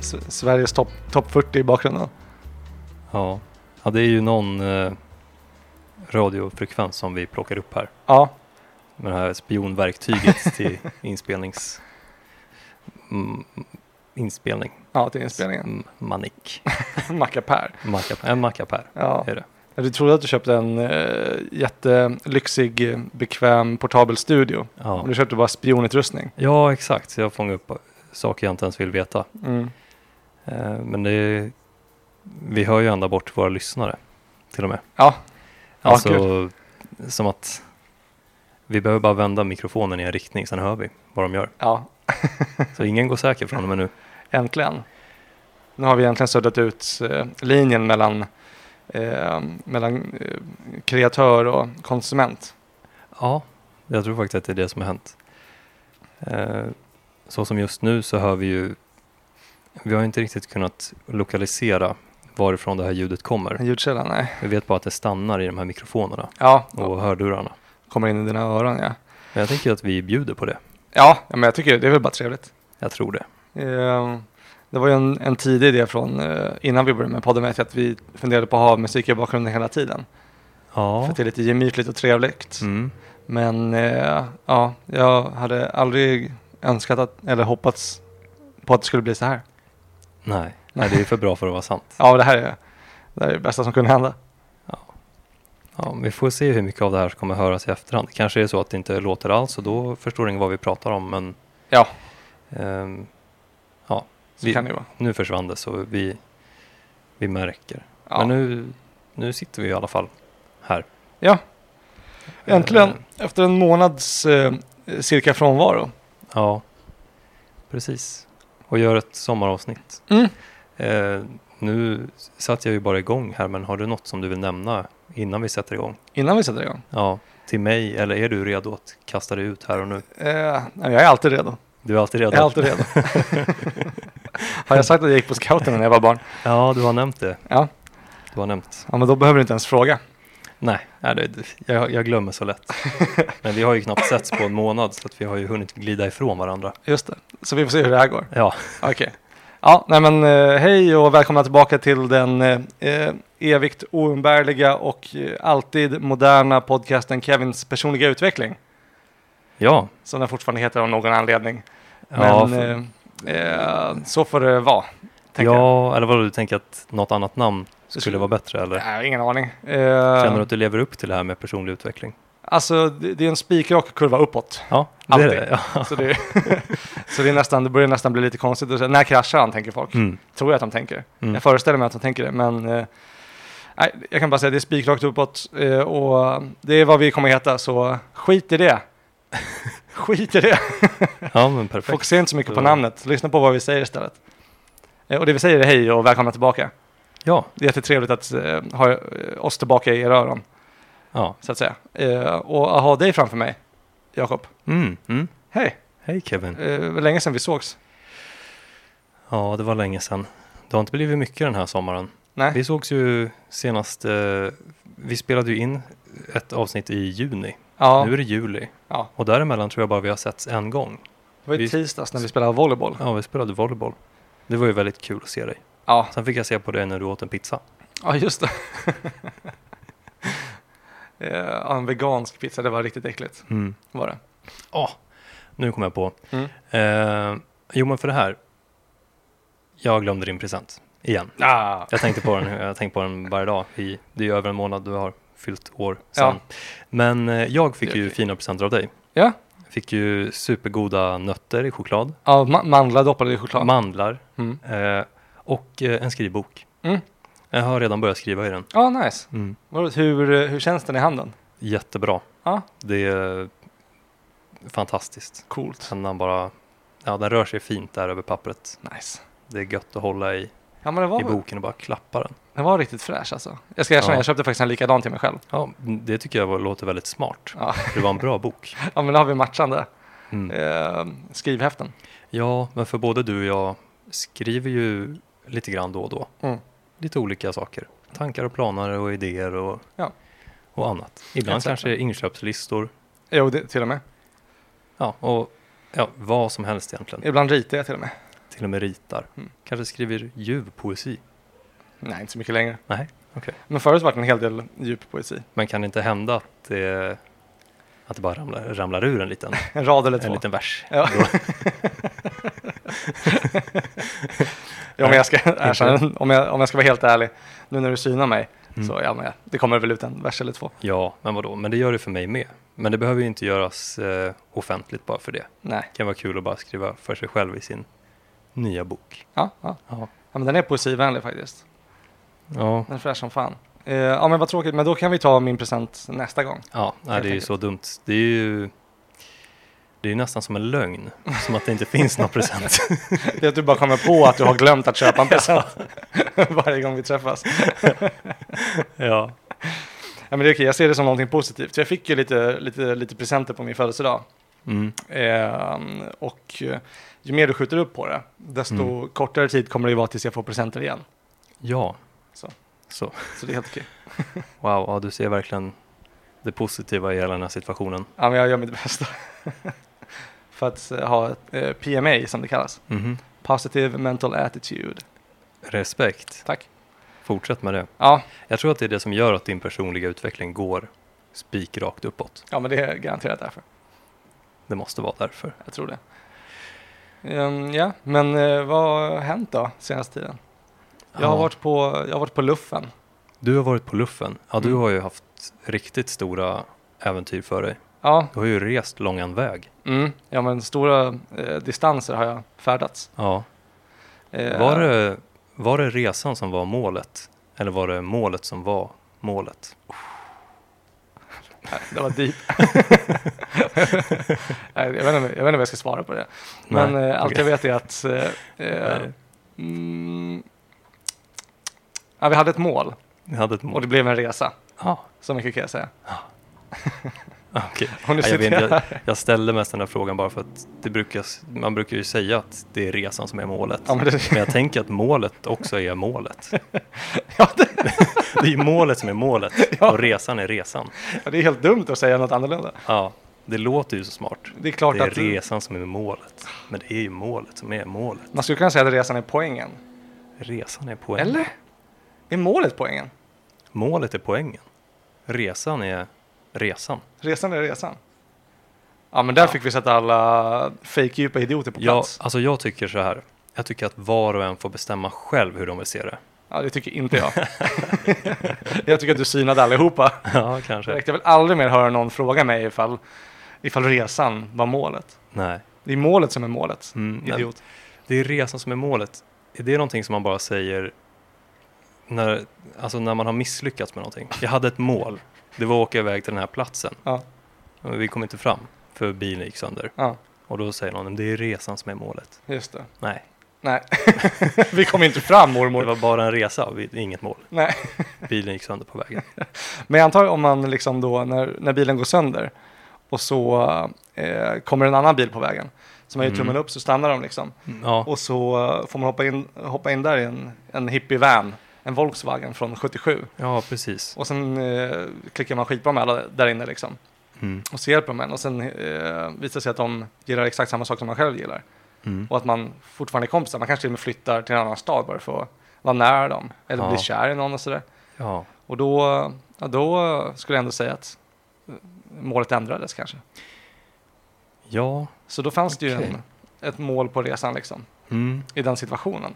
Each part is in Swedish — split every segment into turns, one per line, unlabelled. S- Sveriges topp top 40 i bakgrunden.
Ja. ja, det är ju någon eh, radiofrekvens som vi plockar upp här.
Ja,
Med det här spionverktyget till inspelnings... Mm, inspelning.
ja till inspelningen.
Mm, Manik.
Mackapär.
Macka- En mackapär
Ja.
är det.
Du trodde att du köpte en eh, jättelyxig, eh, bekväm, portabel studio.
Ja.
Men du köpte bara spionutrustning.
ja, exakt. Så Jag fångar upp saker jag inte ens vill veta.
Mm.
Eh, Men det är, vi hör ju ända bort våra lyssnare till och med.
Ja. Ja,
Alltså, som att vi behöver bara vända mikrofonen i en riktning, sen hör vi vad de gör.
Ja,
Så ingen går säker från och med nu.
äntligen. Nu har vi egentligen suddat ut eh, linjen mellan, eh, mellan eh, kreatör och konsument.
Ja, jag tror faktiskt att det är det som har hänt. Eh, Så som just nu så hör vi ju, vi har inte riktigt kunnat lokalisera varifrån det här ljudet kommer.
Ljudkällan, nej.
Vi vet bara att det stannar i de här mikrofonerna
Ja,
och hördurarna.
kommer in i dina öron, ja.
Men jag tänker att vi bjuder på det.
Ja, men jag tycker det är väl bara trevligt.
Jag tror det.
Eh, Det var ju en, en tidig idé från eh, innan vi började med podden vet jag att vi funderade på att ha musik i bakgrunden hela tiden. För
Ja.
att det är lite gemytligt och trevligt.
Mm.
Men eh, ja, jag hade aldrig önskat att, eller hoppats på att det skulle bli så här.
Nej. Nej, det är för bra för att vara sant.
Ja, det här är det, här är det bästa som kunde hända.
Ja, vi får se hur mycket av det här som kommer höras i efterhand. Kanske är det så att det inte låter alls och då förstår ingen vad vi pratar om. Men
Ja.
ehm,
Så
Vi-
kan det ju vara.
nu försvann det så vi, vi märker.
Ja.
Men nu, nu sitter vi i alla fall här.
Ja. Äntligen,
Eh,
efter en månads eh, cirka frånvaro.
ja, precis. Och gör ett sommaravsnitt.
Mm.
Eh, nu satt jag ju bara igång här, men har du något som du vill nämna innan vi sätter igång?
Innan vi sätter igång.
Ja, till mig, eller är du redo att kasta dig ut här och nu?
Eh, nej, jag är alltid redo.
Du är alltid redo.
Jag är alltid redo. Har jag sagt att jag gick på scouterna när jag var barn?
Ja, du har nämnt det.
Ja.
Du har nämnt.
Ja, men då behöver du inte ens fråga.
Nej, nej det, det- jag, jag glömmer så lätt. Men vi har ju knappt setts på en månad så att vi har ju hunnit glida ifrån varandra.
Just det. Så vi får se hur det här går.
Ja,
Okej. Ja, nej men eh, hej och välkomna tillbaka till den eh, eh, evigt oumbärliga och eh, alltid moderna podcasten Kevins personliga utveckling.
ja,
Som den fortfarande heter av någon anledning. Men
ja, för-
eh, eh, så får det vara. tänker jag.
ja eller vad du tänker att något annat namn skulle
skulle-
vara bättre eller?
Nej, ingen aning. Eh,
Känner du att du lever upp till det här med personlig utveckling?
Alltså, det, det är en spikrak kurva uppåt.
Ja, det är
Alltid.
det. Ja.
Så, det, så det, är nästan, det börjar nästan bli lite konstigt. att säga, När kraschar han, tänker folk.
Mm.
tror jag att de tänker.
Mm.
Jag föreställer mig att de tänker det, men eh, nej, jag kan bara säga att det är spikrakt uppåt eh, och det är vad vi kommer heta, så skit i det. skit i det.
ja, men perfekt.
Fokusera inte så mycket på
Så-
namnet, lyssna på vad vi säger istället. Eh, och det vi säger är hej och välkomna tillbaka.
Ja,
Det är jättetrevligt att eh, ha eh, oss tillbaka i era öron,
ja.
så att säga. Eh, och att ha dig framför mig, Jakob.
Mm. Mm.
Hej,
Hej Kevin.
eh, det var länge sedan vi sågs.
Ja, det var länge sedan. Det har inte blivit mycket den här sommaren.
Nej,
Vi sågs ju senast, eh, vi spelade ju in ett avsnitt i juni.
ja,
Nu är det juli.
Ja.
Och däremellan tror jag bara vi har setts en gång.
det var i
vi-
tisdags när vi spelade volleyboll.
Ja, vi spelade volleyboll. Det var ju väldigt kul att se dig.
Ja,
Sen fick jag se på dig när du åt en pizza.
Ja, just det. Eh, ja, en vegansk pizza, det var riktigt äckligt.
Mm.
Var det.
Nu kom jag på.
Mm.
Eh, jo, men för det här. Jag glömde din present. Igen.
Ah.
Jag tänkte på den, jag har tänkt på den varje dag. I, det är ju över en månad du har fyllt år sedan. Men eh, jag fick
Det är
ju
okej.
fina presenter av dig.
Ja.
Fick ju supergoda nötter i choklad.
Ja, ma- mandlar doppade i choklad.
mandlar
mm.
eh, och eh, en skrivbok.
Mm.
Jag har redan börjat skriva i den. Mm.
Ja, nice. Vadå, Hur, eh, hur känns den i handen?
Jättebra.
Ja.
Det är fantastiskt.
Coolt.
Den, den, bara, ja, den rör sig fint där över pappret.
Nice.
Det är gött att hålla i,
Ja, men den
i
var,
boken och bara klappa den.
den var riktigt fräsch alltså. Jag ska erkänna,
Ja.
jag köpte faktiskt en likadan till mig själv.
Ja, det tycker jag var, låter väldigt smart.
Ja.
Det var en bra bok.
Ja, men då har vi matchande
Mm.
eh, skrivhäften.
Ja, men för både du och jag skriver ju lite grann då och då.
Mm.
Lite olika saker. Tankar och planer och idéer och,
Ja.
och annat. Ibland
Exakt.
kanske inköpslistor.
Jo, det, till och med.
Ja, och ja, vad som helst egentligen.
Ibland ritar jag till och med.
till och med ritar.
Mm.
Kanske skriver ljuv poesi.
Nej, inte så mycket längre.
Nej, okej.
Men förut var det en hel del djup poesi.
Men kan det inte hända att det, att det bara ramlar, ramlar ur en liten,
En rad eller två.
en liten vers?
Ja.
Då-
Ja, men jag ska erkänna, om jag, om jag ska vara helt ärlig, nu när du synar mig,
Mm.
så ja, men jag- det kommer väl ut en vers eller två.
ja, men vadå? Men det gör det för mig med. Men det behöver ju inte göras eh, offentligt bara för det.
Nej,
Det kan vara kul att bara skriva för sig själv i sin nya bok.
ja, ja.
Ja.
ja men den är poesivänlig faktiskt.
Ja,
Den är fräsch som fan. Eh, ja, men vad tråkigt, men då kan vi ta min present nästa gång.
ja nej,
Helt
det är ju
enkelt.
så dumt. Det är ju det är ju nästan som en lögn, som att det inte finns någon present.
Det är att du bara kommer på att du har glömt att köpa en present varje gång vi träffas.
ja.
Ja, men det är okej, jag ser det som någonting positivt. Jag fick ju lite, lite, lite presenter på min födelsedag.
Mm.
Eh, och eh, ju mer du skjuter upp på det, desto kortare tid kommer det ju vara tills jag får presenter igen.
ja.
Så.
så.
Så det är helt okej.
Wow, ja, du ser verkligen det positiva i hela den här situationen.
Ja, men jag gör mitt bästa. För att eh, ha ett, eh, PMA som det kallas.
Mhm.
Positive Mental Attitude.
Respekt,
Tack.
fortsätt med det.
Ja,
Jag tror att det är det som gör att din personliga utveckling går spikrakt uppåt.
ja men det är garanterat därför.
Det måste vara därför.
Jag tror det. Ehm, ja, men eh, vad har hänt då senaste tiden? Jag har,
Ja.
varit på, jag har varit på luffen.
Du har varit på luffen. Ja, du
Mm.
har ju haft riktigt stora äventyr för dig.
Ja,
Du har ju rest långan väg.
mm, ja men stora eh, distanser har jag färdats.
Ja.
Eh,
Var, det, var det resan som var målet? Eller var det målet som var målet?
Nej, det var deep. Nej, jag, vet inte, jag vet inte vad jag ska svara på det. Men
Nej,
eh, allt
okej.
jag vet är att eh, eh,
Nej.
mm, ja, vi hade ett mål
Ni hade ett
och
mål.
det blev en resa.
Ja,
Så mycket kan jag säga.
okej.
Och
Ja,
nu
jag,
sitter
vet,
jag
jag,
här.
jag ställde mest den här frågan bara för att det brukar, man brukar ju säga att det är resan som är målet.
Ja, men
men,
det-
jag tänker att målet också är målet.
Ja, det,
Det är ju målet som är målet
Ja.
och resan är resan.
ja, det är helt dumt att säga något annorlunda.
Ja, det låter ju så smart.
Det är klart
Det är
att
resan som är målet. Men det är ju målet som är målet.
man skulle kunna säga att resan är poängen.
Resan är poängen.
Eller? Är målet poängen?
Målet är poängen. Resan är resan.
Resan är resan. Ja, men där fick vi sätta alla fejkdjupa idioter på
Jag,
plats. Ja.
alltså jag tycker så här. Jag tycker att var och en får bestämma själv hur de vill se det.
det tycker inte jag. jag tycker att du synade allihopa.
Ja,
Det
kanske.
räckte väl aldrig mer höra någon fråga mig ifall, ifall resan var målet.
Nej.
Det är målet som är målet.
Mm, nej.
Idiot.
Det är resan som är målet. Är det någonting som man bara säger när, alltså när man har misslyckats med någonting? Jag hade ett mål. Det var att åka iväg till den här platsen.
Ja.
Men vi kom inte fram för bilen gick sönder.
Ja,
Och då säger någon, det är resan som är målet.
just det.
Nej,
Nej, vi kom inte fram
Det
mormor.
var bara en resa, vi- inget mål.
Nej.
Bilen gick sönder på vägen.
Men jag antar om man liksom då, när, när bilen går sönder och så eh, kommer en annan bil på vägen. Så man gör
Mm.
tummen upp så stannar de liksom.
Ja,
Och så eh, får man hoppa in, hoppa in där i en, en hippie van. En Volkswagen från 77.
ja precis.
Och sen eh, klickar man skitbra med alla där inne liksom.
Mm.
Och så hjälper de en. Och sen eh, visar det sig att de gillar exakt samma sak som man själv gillar.
Mm.
Och att man fortfarande är kompisar. Man kanske till och med flyttar till en annan stad bara för att vara nära dem. Eller
Ja.
bli kär i någon och sådär.
Ja.
Och då, ja, då skulle jag ändå säga att eh, målet ändrades kanske.
ja.
Så då fanns det ju
Okej.
en, ett mål på resan liksom,
Mm.
i den situationen.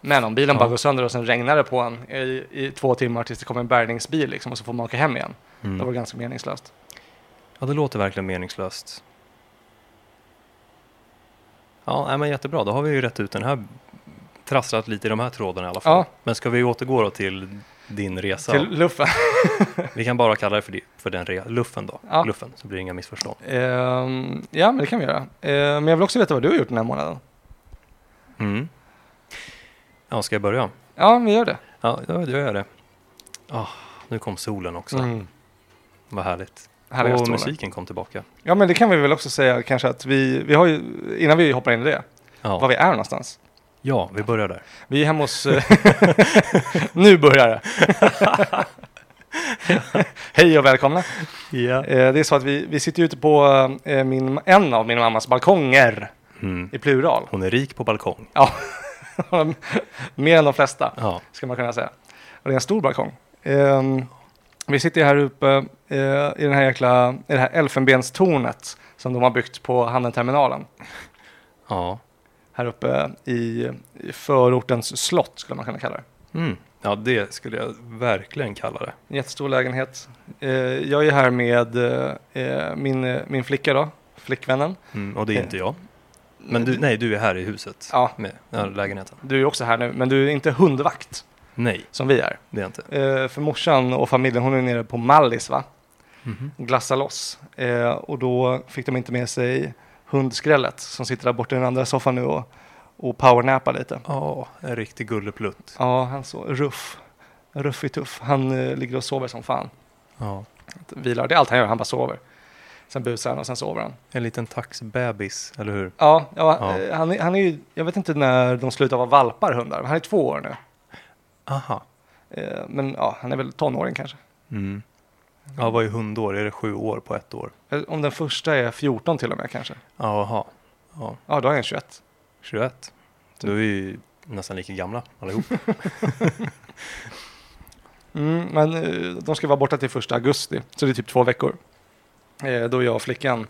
Men om bilen
Ja.
bara går sönder och sen regnar det på en i, i två timmar tills det kommer en bärgningsbil liksom, och så får man åka hem igen. Det var
Mm.
ganska meningslöst.
Ja, det låter verkligen meningslöst. Ja, nej, men jättebra. Då har vi ju rätt ut den här, trasslat lite i de här trådarna i alla fall.
Ja.
Men ska vi återgå då till din resa?
Till luffen.
Vi kan bara kalla det för, di- för den re- luffen då.
Ja.
Luffen, så blir det inga missförstånd.
Ehm, ja, men det kan vi göra. Ehm, men jag vill också veta vad du har gjort den här månaden.
Mm. Ja, ska jag börja?
Ja, vi gör det.
Ja, jag gör jag det. Ah, nu kom solen också. Vad härligt.
Härliga
Mm. och
strålar.
musiken kom tillbaka.
Ja, men det kan vi väl också säga kanske att vi, vi har ju, innan vi hoppar in i det,
Ja,
var vi är någonstans.
ja vi börjar där.
Vi är hemma hos... eh, nu börjar det! Hej och välkomna! Ehm, Eh, Det är så att vi, vi sitter ute på eh, min, en av min mammas balkonger
Mm.
i plural.
Hon är rik på balkong.
Mer än de flesta,
Ja,
ska man kunna säga. Och det är en stor balkong. Ehm, vi sitter här uppe eh, i, den här jäkla, i det här elfenbenstornet som de har byggt på hamnterminalen.
ja.
Här uppe i, i förortens slott, skulle man kunna kalla det.
Mm. ja det skulle jag verkligen kalla det.
En jättestor lägenhet. Eh, jag är här med eh, min, eh, min flicka då, flickvännen.
Mm. Och det
Eh.
är inte jag. Men du, nej, du är här i huset
Ja,
med den här lägenheten.
du är också här nu, men du är inte hundvakt
Nej,
som vi är.
det är jag inte.
Eh, för morsan och familjen, hon är nere på Mallis va?
Mhm.
Glassa loss. Eh, och då fick de inte med sig hundskrället som sitter där borta i den andra soffan nu och, och powernappar lite.
Ja, en riktig gulleplutt.
Ja, han så ruff. Ruff är tuff. Han eh, ligger och sover som fan.
Ja.
Vilar, det är allt han gör, han bara sover. Sen busar han och sen sover han.
En liten taxbebis, eller hur?
Ja, ja,
Ja.
eh, Han, är, han är ju, jag vet inte när de slutar vara valpar hundar, men han är två år nu.
Aha.
Eh, Men ja, han är väl tonåring kanske.
Mm. Ja, vad är hundår? Är det sju år på ett år?
Eller Eh, Om den första är 14 till och med kanske.
Jaha. Ja,
Ja, då är han 21.
21. Då är vi ju nästan lika gamla allihop.
Mm, men eh, de ska vara borta till första augusti, så det är typ två veckor. Eh, Då är jag och flickan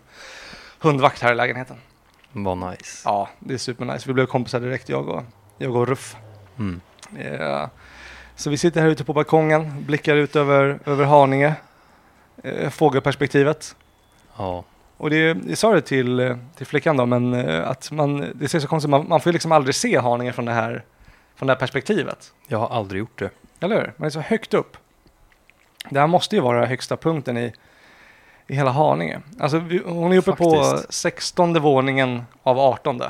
hundvakt här i lägenheten.
vad nice.
Ja, det är supernice. Vi blev kompisar direkt, jag och, jag och Ruff.
Mm.
Eh, Så vi sitter här ute på balkongen, blickar ut över, över Haninge. eh, Fågelperspektivet.
Ja.
Och det, jag sa det till, eh, till flickan då, men eh, att man, det ser så konstigt, man, man får ju liksom aldrig se Haninge från det här, från det här perspektivet.
Jag har aldrig gjort det.
Eller hur? Man är så högt upp. Det här måste ju vara högsta punkten i, i hela Haninge. Alltså, vi, hon är uppe på
Faktiskt.
16 våningen av 18.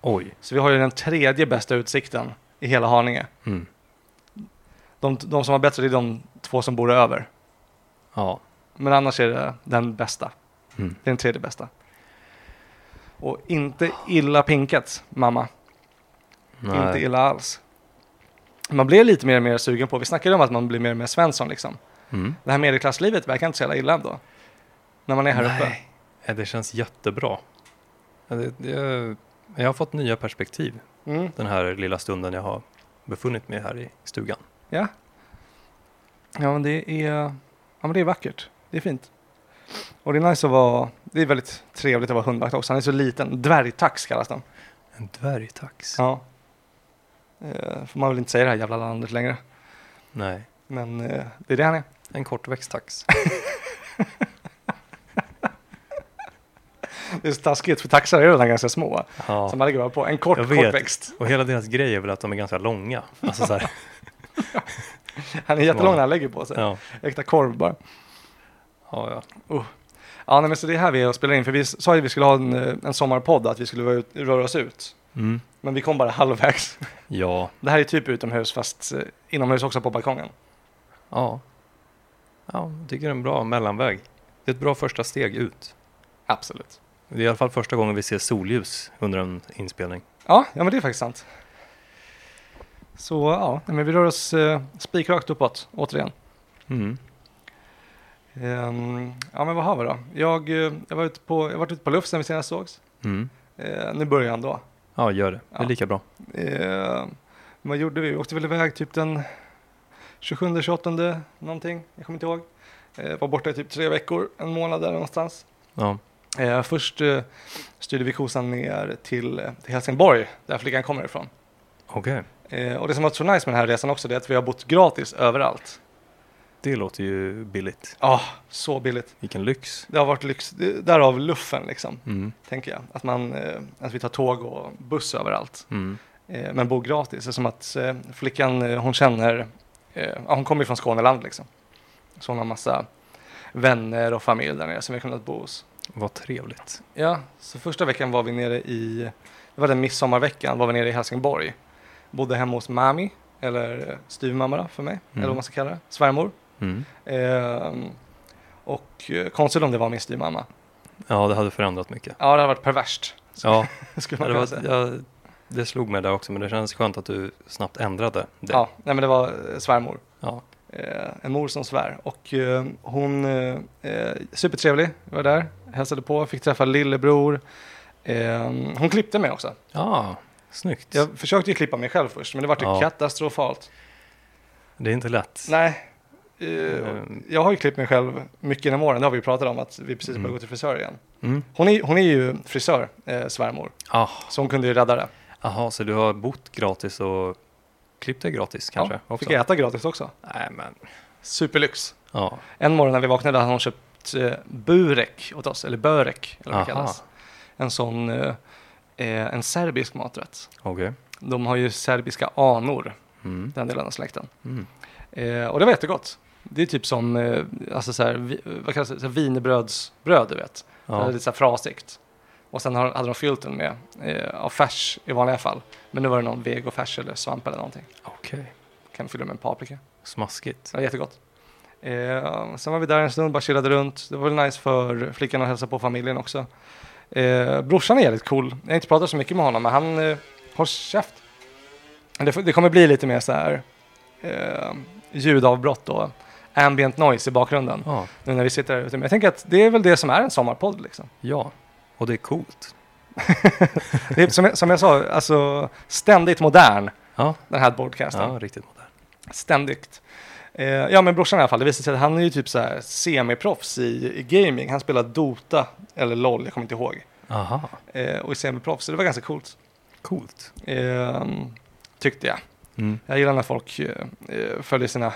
Oj.
Så vi har ju den tredje bästa utsikten i hela Haninge.
Mm.
De, de som har bättre det är de två som bor över.
Ja.
Men annars är det den bästa.
Mm.
Det är den tredje bästa. Och inte illa pinkat, mamma. Inte
Nej.
illa alls. Man blir lite mer och mer sugen på, vi snackade om att man blir mer och mer Svensson liksom.
Mm.
Det här medelklasslivet verkar inte så jävla illa ändå. När man är här uppe.
Nej. Ja, Eh, Det känns jättebra. Ja, Det, det, jag har fått nya perspektiv
Mm.
den här lilla stunden jag har befunnit mig här i stugan.
Ja, men det är, ja, men det är vackert. Det är fint. Och det är nice att vara, det är väldigt trevligt att vara hundvakt också. Han är så liten. Dvärgtax kallas den.
En dvärgtax?
Ja. Eh, får man väl inte säga i det här jävla landet längre.
Nej.
Men eh, det är det han är.
En kortväxt tax.
Det är så taskigt för taxar är redan ganska små.
Ja.
Så man lägger bara på en kort,
Jag vet.
kortväxt.
Och hela deras grej är väl att de är ganska långa. Alltså så här,
Han är jättelång
Ja.
när han lägger på sig.
ja.
Äkta korv bara.
Ja, ja.
Ja, nej, men så det är här vi är och spelar in. För vi s- sa ju att vi skulle ha en, eh, en sommarpodd, att vi skulle vara ut, röra oss ut.
Mm.
Men vi kom bara halvvägs.
ja,
Det här är typ utomhus, fast eh, inomhus också på balkongen.
ja. Ja, jag tycker det är en bra mellanväg. Det är ett bra första steg ut.
Absolut.
Det är i alla fall första gången vi ser solljus under en inspelning.
Ja, ja men det är faktiskt sant. Så ja, nej, men vi rör oss eh, spikrakt uppåt, återigen.
Mm.
Ehm, ja, men vad har vi då? Jag, eh, jag var ute på, jag var ute på luft sen vi senast sågs.
Mm.
Eh, nu börjar han då.
Ja, gör det. Det
Ja.
är lika bra.
Eh, vad gjorde vi? Vi åkte väl iväg typ den 27, 28 någonting. Jag kommer inte ihåg. Eh, var borta i typ tre veckor, en månad där någonstans.
Ja.
Eh, först eh, styrde vi kosan ner till, eh, till Helsingborg, där flickan kommer ifrån.
Okej.
Eh, och det som varit så nice med den här resan också, det är att vi har bott gratis överallt.
Det låter ju billigt.
Ja, så billigt.
Vilken lyx.
Det har varit lyx, det- därav luffen liksom,
Mm.
tänker jag. Att, man, eh, att vi tar tåg och buss överallt.
Mm.
eh, men bor gratis. Det är som att eh, flickan eh, hon känner, eh, ja, hon kommer ju från Skåneland liksom. Så hon har massa vänner och familj där nere som vi har kunnat bo hos.
Vad trevligt.
Ja, så första veckan var vi nere i, det var den midsommarveckan, var vi nere i Helsingborg. Bodde hemma hos mami, eller eh, styvmamma då för mig, eller vad man ska kalla det, svärmor.
Mm.
Eh, och eh, konstigt om det var min styvmamma.
Ja, det hade förändrat mycket.
Ja, det hade varit perverst.
Ja,
Skulle
Ja,
man
Det,
kunna
var,
säga.
jag, det slog mig där också, men det känns skönt att du snabbt ändrade det.
Ja, nej men det var eh, svärmor.
Ja.
Eh, en mor som svär. Och eh, hon, eh, eh, supertrevlig, var där, hälsade på, fick träffa lillebror, Eh, hon klippte mig också.
Ja, ah, snyggt.
Jag försökte ju klippa mig själv först, men det var ju
Ja.
katastrofalt.
Det är inte lätt.
Nej. Eh,
Mm.
Jag har ju klippt mig själv mycket genom åren. Det har vi ju pratat om att vi precis började
Mm.
gå till frisör igen.
Mm.
Hon är, hon är ju frisör, eh, svärmor.
Ah,
Så hon kunde ju rädda det.
aha, så du har bott gratis och klippt dig gratis kanske?
ja,
också?
fick jag äta gratis också.
Nej, men
Superlyx.
ja.
En morgon när vi vaknade hade hon köpt eh, burek åt oss, eller börek, eller vad det
Aha.
kallas. En sån, eh, eh, en serbisk maträtt.
Okej.
De har ju serbiska anor,
Mm.
den delen av släkten.
Mm.
Eh, och det var jättegott. Det är typ som, eh, alltså så här, vi, vad kallas det, så här wienerbrödsbröd, du vet. Det är
Ja.
lite så här frasigt. Och sen har- hade de fyllt den med eh, av färs i vanliga fall. Men nu var det någon vegofärs eller svamp eller någonting.
Okej.
Kan fylla med en paprika.
Smaskigt.
Det var jättegott. Eh, sen var vi där en stund, bara chillade runt. Det var väl nice för flickan att hälsa på familjen också. Eh, brorsan är jävligt cool. Jag har inte pratat så mycket med honom, men han eh, har käft. Det, får- det kommer bli lite mer så här eh, ljudavbrott och ambient noise i bakgrunden
Ja.
nu när vi sitter här ute. Men jag tänker att det är väl det som är en sommarpodd liksom.
ja, och det är coolt.
Det är, som, jag, som jag sa, alltså ständigt modern,
Ja,
den här podcasten.
ja riktigt modern.
Ständigt. Eh, ja, men brorsan i alla fall, det visade sig att han är ju typ så här semiproffs i, i gaming. Han spelar Dota eller LOL, jag kommer inte ihåg.
Aha,
Eh, och är semiproffs, så det var ganska coolt.
coolt.
Eh, tyckte jag.
Mm.
Jag gillar när folk eh, eh, följer sina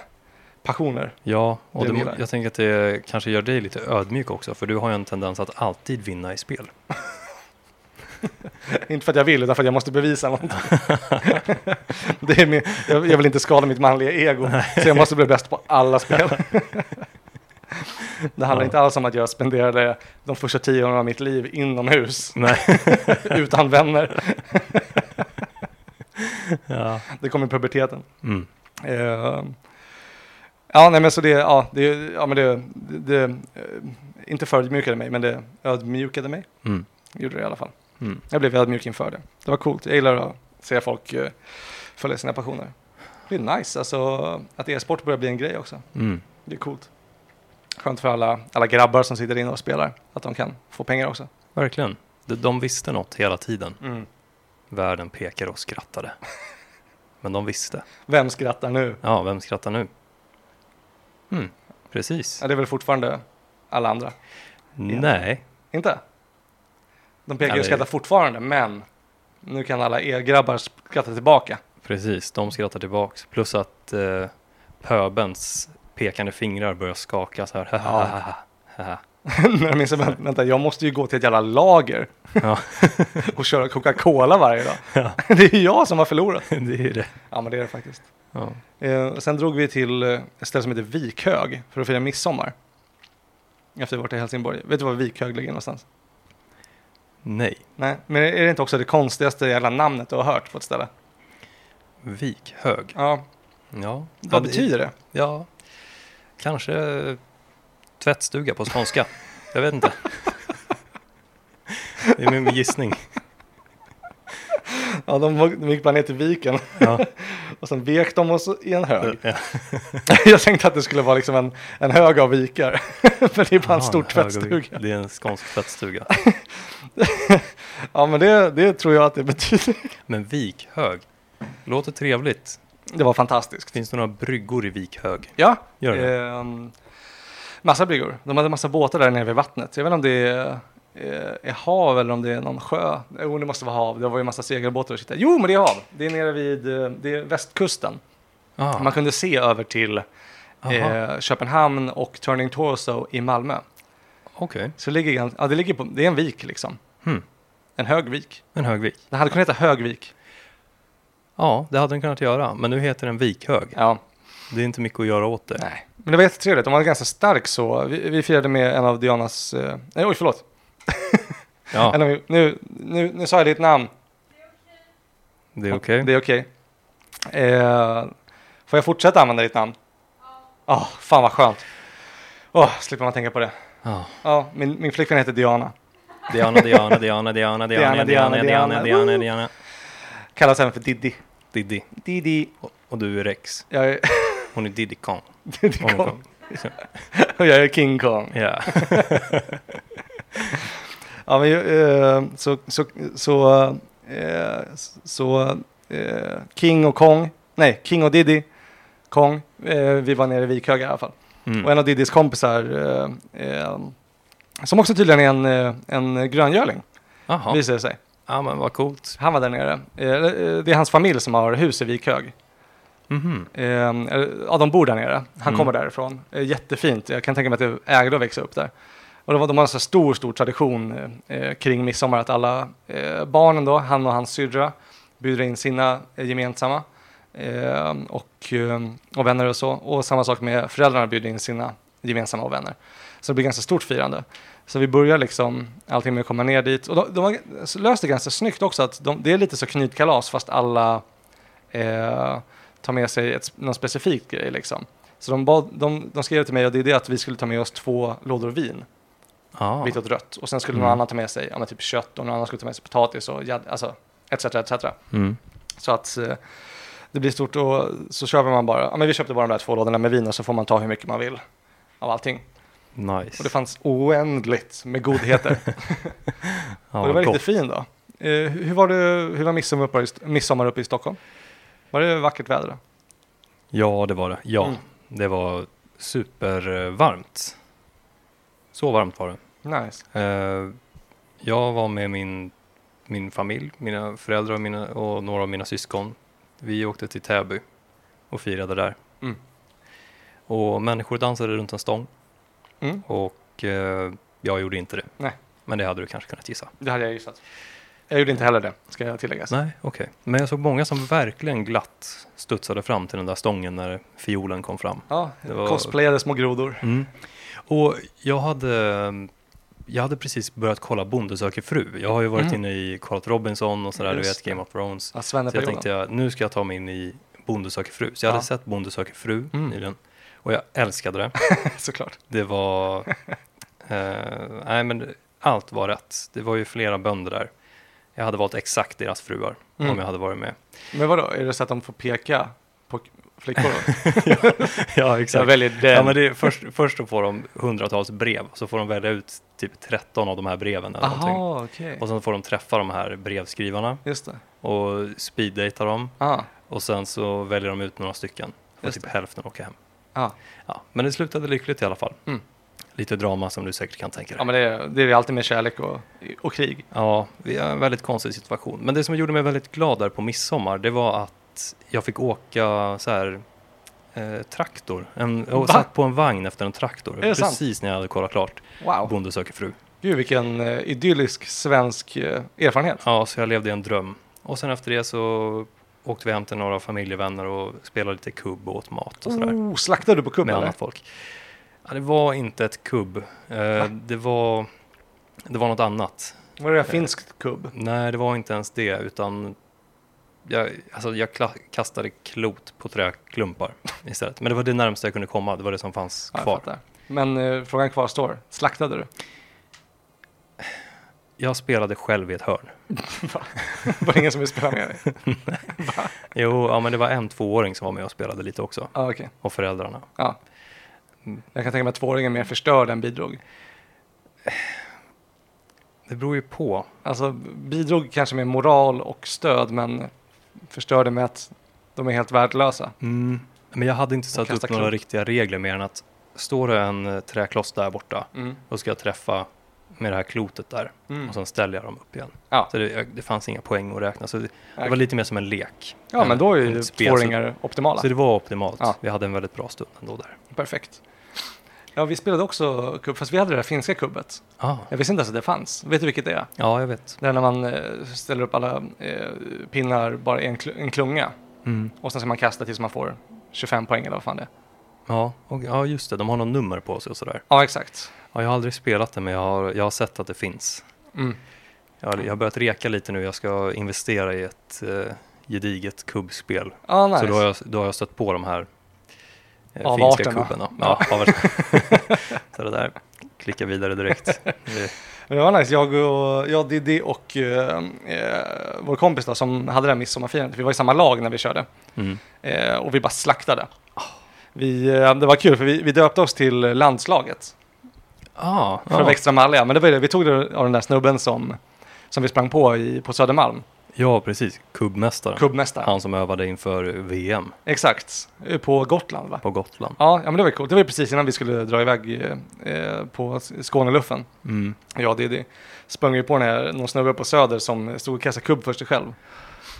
passioner.
Ja, och
Det
det
gillar jag.
jag tänker att det kanske gör dig lite ödmjuk också, för du har ju en tendens att alltid vinna i spel.
inte för att jag vill, utan för att jag måste bevisa någonting. det är min, jag, jag vill inte skada mitt manliga ego, så jag måste bli bäst på alla spel. det handlar
Ja.
inte alls om att jag spenderade de första tio åren av mitt liv inomhus,
Nej.
utan vänner.
ja.
Det kom i puberteten.
Mm.
Eh, ja, nej men så det, ja, det, ja men det, det, det eh, inte förödmjukade mig, men det ödmjukade mig.
Mm.
Gjorde det i alla fall.
Mm.
Jag blev ödmjuk inför det. Det var coolt. Jag gillar att se folk eh, följa sina passioner. Det är nice alltså, att e-sport börjar bli en grej också.
Mm.
Det är coolt. Skönt för alla, alla grabbar som sitter inne och spelar, att de kan få pengar också.
Verkligen. De, de visste något hela tiden. Världen pekade och skrattade. Men de visste.
Vem skrattar nu?
Ja, vem skrattar nu? Mm. Precis.
Ja, det är väl fortfarande alla andra?
Nej.
Inte? De pekar ju
Ja,
och
det-
skrattar fortfarande, men nu kan alla e-grabbar skratta tillbaka.
Precis, de skrattar tillbaks. Plus att eh, pöbens pekande fingrar börjar skaka så här. Ja.
När de inser, "Vä- vänta, jag måste ju gå till ett jävla lager
Ja.
och köra Coca-Cola varje dag.
Ja.
det är ju jag som har förlorat.
det är det.
Ja, men det är det faktiskt.
Ja.
Eh, sen drog vi till eh, ett ställe som heter Vikhög för att fira midsommar. Efter vi varit i Helsingborg. Vet du var Vikhög ligger någonstans?
Nej.
Nej, men är det inte också det konstigaste jävla namnet du har hört på ett ställe?
Vikhög.
Ja,
Ja.
vad betyder det?
Ja, kanske eh, tvättstuga på skånska. Jag vet inte. Det är min gissning.
Ja, de, de gick bara ner till viken
Ja.
och sen vek de oss i en hög. Jag tänkte att det skulle vara liksom en, en hög av vikar. För det är bara en stor
hög och-
tvättstuga.
Det är en skånsk tvättstuga.
Ja, men det, det tror jag att det betyder.
Men Vikhög, låter trevligt.
Det var fantastiskt.
Finns det några bryggor i Vikhög?
Ja,
Gör det?
Ehm, massa bryggor. De hade massa båtar där nere vid vattnet. Jag vet inte om det är, eh, är hav eller om det är någon sjö. Jo, det måste vara hav. Det var ju massa segelbåtar och shit. där. Jo, men det är hav. Det är nere vid eh, det är västkusten.
Ah,
Man kunde se över till
aha,
eh, Köpenhamn och Turning Torso i Malmö.
Okej,
Så det ligger, gans- ja, det, ligger på, det är en vik liksom.
Hmm.
En hög vik.
en högvik.
Den hade kunnat heta Högvik.
Ja, det hade den kunnat göra, men nu heter den Vikhög.
Ja.
Det är inte mycket att göra åt det.
Nej. Men det var jättetrevligt. De var ganska stark så. Vi, vi firade med en av Dianas... Eh, nej, oj, förlåt.
Ja,
En av, nu, nu, nu sa jag ditt namn.
det är okej.
Det är okej. Eh, får jag fortsätta använda ditt namn? Ja. fan vad skönt. Åh, slipper man tänka på det.
Ah.
Ja, min, min flickvän heter Diana.
Diana, Diana, Diana, Diana, Diana, Diana, Diana, Diana, Diana, Diana.
Kallas även för Diddy.
Diddy.
Diddy.
Och- Och du är Rex.
Jag är
Hon är Diddy Kong.
Diddy
Hon är
Kong. Och jag är King Kong.
Ja.
Ja, men, eh, så så, så, eh, så eh, King och Kong, nej, King och Diddy, Kong, eh, vi var nere i Vikhöga i alla fall.
Mm.
Och en av Diddys kompisar, eh, eh, som också tydligen är en, eh, en gröngöling,
Aha.
visade det sig.
Ja, men vad coolt.
Han var där nere. Eh, eh, det är hans familj som har hus i Vikhög.
Mhm.
Eh, eller, ja, de bor där nere. Han
Mm.
kommer därifrån. Eh, jättefint. Jag kan tänka mig att det ägde att växa upp där. Och de, har- de har en så här stor, stor tradition eh, kring midsommar att alla eh, barnen då, han och hans syrra, bjuder in sina eh, gemensamma eh, och, eh, och vänner och så. Och samma sak med föräldrarna bjuder in sina gemensamma och vänner. Så det blir ganska stort firande. Så vi börjar liksom allting med att komma ner dit. Och de, de har så löst det ganska snyggt också att de, det är lite så knytkalas fast alla eh, ta med sig ett, någon specifik grej. Liksom. Så de, bad, de, de skrev till mig och det är det att vi skulle ta med oss två lådor vin,
Ja.
vitt och rött. Och sen skulle
Mm.
någon annan ta med sig ja, men typ kött och någon annan skulle ta med sig potatis och jäd- alltså, etc. etc.
Mm.
Så att eh, det blir stort och så köper man bara, ja, men vi köpte bara de där två lådorna med vin och så får man ta hur mycket man vill av allting. Och det
Nice.
fanns oändligt med godheter.
Ja,
och det var
gott.
riktigt fint då. Eh, hur var, det, hur var midsommar uppe, i St- midsommar uppe i Stockholm? Var det vackert väder? då?
Ja, det var det. Ja,
Mm.
det var supervarmt. Så varmt var det.
Nice.
Eh, Jag var med min, min familj, mina föräldrar och, mina, och några av mina syskon. Vi åkte till Täby och firade där.
Mm.
Och människor dansade runt en stång
Mm,
och eh, jag gjorde inte det.
Nej.
Men det hade du kanske kunnat gissa.
det hade jag gissat. Jag gjorde inte heller det, ska jag tillägga.
Nej, okej. Men jag såg många som verkligen glatt studsade fram till den där stången när fiolen kom fram.
Ja,
Det var-
cosplayade små grodor.
Mm. Och jag hade, jag hade precis börjat kolla Bonde söker fru. Jag har ju varit
Mm.
inne i Karl Robinson och sådär, du
Just
vet
det.
Game of Thrones.
Ja,
Så jag
Svenneperioden.
tänkte jag, nu ska jag ta mig in i Bonde söker fru. Så jag
Ja.
hade sett Bonde söker fru
Mm.
nyligen och jag älskade det.
Såklart.
Det var, eh, nej men allt var rätt. Det var ju flera bönder där. Jag hade valt exakt deras fruar om
Mm.
jag hade varit med.
Men vadå, är det så att de får peka på k- flickor? då?
ja,
jag väljer den.
Ja, men det är, först, först så får de hundratals brev, så får de välja ut typ 13 av de här breven. Eller någonting.
Aha, okej.
Och sen får de träffa de här brevskrivarna
Just det.
och speeddata dem
Ah,
och sen så väljer de ut några stycken och
Just
typ hälften åker hem.
ah.
Ja, men det slutade lyckligt i alla fall.
Mm.
Lite drama som du säkert kan tänka dig.
Ja, men det är, det är alltid med kärlek och, och krig.
Ja, det är en väldigt konstig situation. Men det som gjorde mig väldigt glad där på midsommar, det var att jag fick åka så här eh, traktor. En, jag
Va?
satt på en vagn efter en traktor.
Är det sant?
Precis när jag hade kollat klart.
Wow.
Bonde söker fru.
Gud, vilken eh, idyllisk svensk eh, erfarenhet.
Ja, så jag levde i en dröm. Och sen efter det så åkte vi hem till några familjevänner och spelade lite kubb och åt mat och sådär.
Oh, slaktade du på kubb
med
eller?
annat folk. Ja, det var inte ett kubb. Eh, det, var, det var något annat.
Var det där finskt kubb?
Nej, det var inte ens det, utan jag, alltså jag kla- kastade klot på träklumpar istället. Men det var det närmaste jag kunde komma, det var det som fanns
Ja, jag
kvar.
fattar. Men eh, frågan kvarstår, slaktade du?
Jag spelade själv i ett hörn.
Var det ingen som ville spela med dig?
Jo, ja, men det var en tvååring som var med och spelade lite också,
Ah, okej.
och föräldrarna.
Ja. Mm. Jag kan tänka mig att tvååringen mer förstörde än bidrog.
Det beror ju på.
Alltså bidrog kanske med moral och stöd men förstörde med att de är helt värdelösa.
Mm. Men jag hade inte satt upp
kasta
några
klot.
riktiga regler mer än att står det en eh, träkloss där borta, då ska jag träffa med det här klotet där
Mm.
och sen ställer jag dem upp igen.
Ja.
Så det, jag- det fanns inga poäng att räkna, så det, det
Okej.
var lite mer som en lek.
Ja men då är ju
Ett spel, så-
tvååringar optimala.
Så det var optimalt.
Ja.
Vi hade en väldigt bra stund ändå där.
Perfekt. Ja vi spelade också kubb fast vi hade det där finska kubbet.
Ah.
Jag visste inte ens att det fanns. Vet du vilket det är?
Ja, jag vet.
Det är när man eh, ställer upp alla eh, pinnar bara i en, kl- en klunga och sen ska man kasta tills man får 25 poäng eller vad fan det är.
Ja, och, ja, just det. De har något nummer på sig och sådär.
Ja exakt.
Ja, jag har aldrig spelat det, men jag har, jag har sett att det finns.
Mm.
Jag har, jag har börjat reka lite nu. Jag ska investera i ett eh, gediget kubbspel.
Ja nice.
Så då har, jag, då har jag stött på de här eh, finska
Avarterna.
kubbarna. Ja, avarterna. så det där, klicka vidare direkt. Det-
Men Det var nice. Jag, och, jag Diddy och eh, eh, vår kompis då, som hade det här midsommarfirandet. Vi var i samma lag när vi körde
Mm.
eh, och vi bara slaktade. Vi, eh, det var kul för vi, vi döpte oss till landslaget.
Ah,
för
ja.
att vara extra malliga. Men det var ju det, vi tog det av den där snubben som, som vi sprang på i, på Södermalm,
ja, precis. Kubbmästaren.
kubbmästaren.
Han som övade inför VM
Exakt, på Gotland va?
på Gotland.
Ja, ja, men det var ju coolt. Det var ju precis innan vi skulle dra iväg eh, eh, på Skåneluffen.
Mm.
Jag och Diddy sprang ju på den här, någon snubbe på Söder som stod och kastade kubb för sig själv.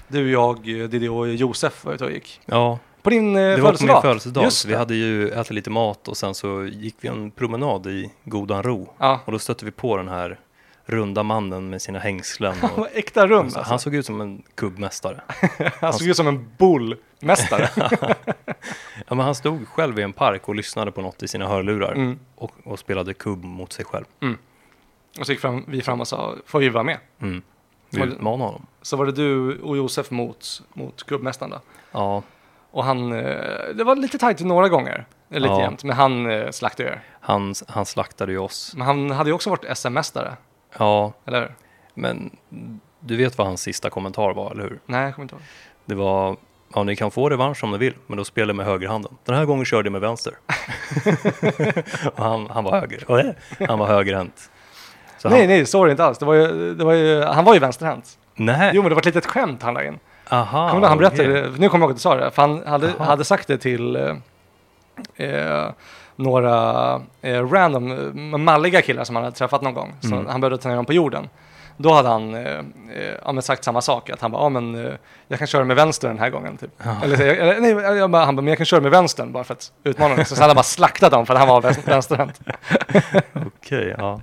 Du, jag, eh, Diddy och Josef var ute och gick.
Ja,
På din eh,
det var på
födelsedag.
min födelsedag.
Just
så Vi
det.
hade ju ätit lite mat och sen så gick vi en promenad i godan ro.
Ja,
Och då stötte vi på den här runda mannen med sina hängslen.
han
Och,
var äkta rum alltså.
han såg ut som en kubbmästare.
Han såg ut som en bullmästare.
Ja, men han stod själv i en park och lyssnade på något i sina hörlurar
Mm.
och, och spelade kubb mot sig själv.
Och så gick fram, vi fram och sa, får vi vara med?
Mm. Vi
Var det-
utmanade honom.
Så var det du och Josef mot, mot kubbmästaren då.
Ja,
Och han, eh, det var lite tajt några gånger, eh, lite
Ja.
jämnt, men han eh, slaktade er.
han, han slaktade ju oss.
Men han hade ju också varit SM-mästare,
Ja,
eller hur?
men du vet vad hans sista kommentar var, eller hur?
Nej, jag kommer inte ihåg.
Det var, ja ni kan få revansch om ni vill, men då spelar jag med högerhanden. Den här gången körde jag med vänster. och han, han var höger. Han var högerhänt. Så
nej,
han,
nej, så var det inte alls. Det var ju, det var ju, han var ju vänsterhänt.
nej.
Jo, men det var ett litet skämt han la in.
Aha,
Kommer du ihåg, han berättade
Ah, okej.
det, för nu kommer jag ihåg att du sa det, för han hade,
Aha.
hade sagt det till eh, eh, några eh, random eh, malliga killar som han hade träffat någon gång. Så
Mm.
han började ta ner dem på jorden. Då hade han eh, eh, ja, men sagt samma sak, att han bara, ja men eh, jag kan köra med vänster den här gången typ.
Ja.
Eller, så- eller nej, jag bara, han bara, men jag kan köra med vänstern bara för att utmana mig. Så, så hade han bara slaktat dem för att han var vän- vänsterhänt.
Okej, ja.
Eh,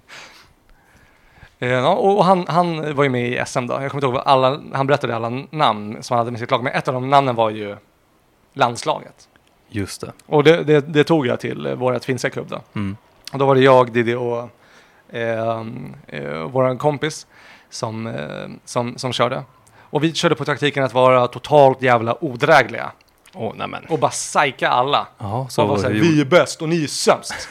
Ja, och och han, han var ju med i SM då. Jag kommer inte ihåg vad alla, han berättade alla namn som han hade med sitt lag, men ett av de namnen var ju landslaget.
Just det.
Och det, det, det tog jag till eh, vårat finska klubb då.
Mm.
Och då var det jag, Diddy och eh, eh, vår kompis som, eh, som, som körde. Och vi körde på taktiken att vara totalt jävla odrägliga
Åh, nej men.
och bara psyka alla.
Jaha,
Så
så
och var så här,
hur,
vi
gjorde-
är bäst och ni är sämst.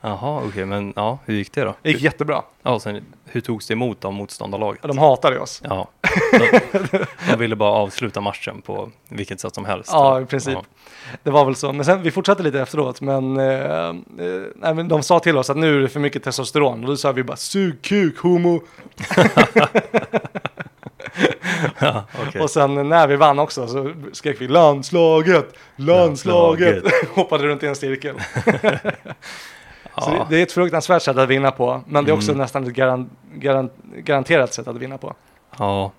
Jaha, okej, men ja, hur gick det då?
Det gick jättebra.
Ja, sen, hur togs det emot av motståndarlaget?
De hatade oss.
Ja, de, de ville bara avsluta matchen på vilket sätt som helst.
Ja, i princip.
Ja.
Det var väl så. Men sen, vi fortsatte lite efteråt, men, eh, eh, nej, men de sa till oss att nu är det för mycket testosteron. Och då sa vi bara sug kuk homo.
Ja, okej.
Och sen när vi vann också så skrek vi landslaget, landslaget. Hoppade runt i en cirkel. Så det,
Ja.
det är ett fruktansvärt sätt att vinna på, men det är också
Mm.
nästan ett garan, garan, garanterat sätt att vinna på.
Ja.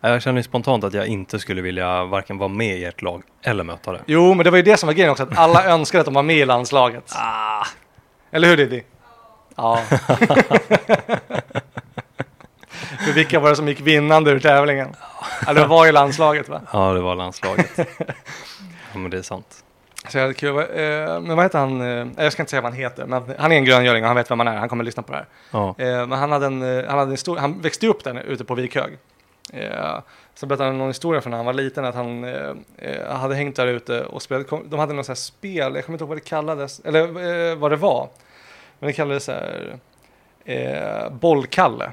Ja, Jag känner ju spontant att jag inte skulle vilja varken vara med i ert lag eller möta det.
Jo, men det var ju det som var grejen också, att alla önskade att de var med i landslaget.
Ah.
Eller hur Diddy? Ja. För vilka var det som gick vinnande ur tävlingen? Ja, det var ju landslaget va?
Ja, det var landslaget. ja, men det är sant.
Så jag hade kul. Eh, Men vad heter han? Eh, Jag ska inte säga vad han heter, men han är en gröngöling och han vet vem han är. Han kommer att lyssna på det här.
Ja.
Eh, Men han, hade en, eh, han, hade en stor, han växte upp där ute på Vikhög. Eh, Så berättade han någon historia från när han var liten, att han eh, eh, hade hängt där ute och spelat. kom- De hade något sånt här spel, jag kommer inte ihåg vad det kallades, eller eh, vad det var. Men det kallades så här, eh, bollkalle.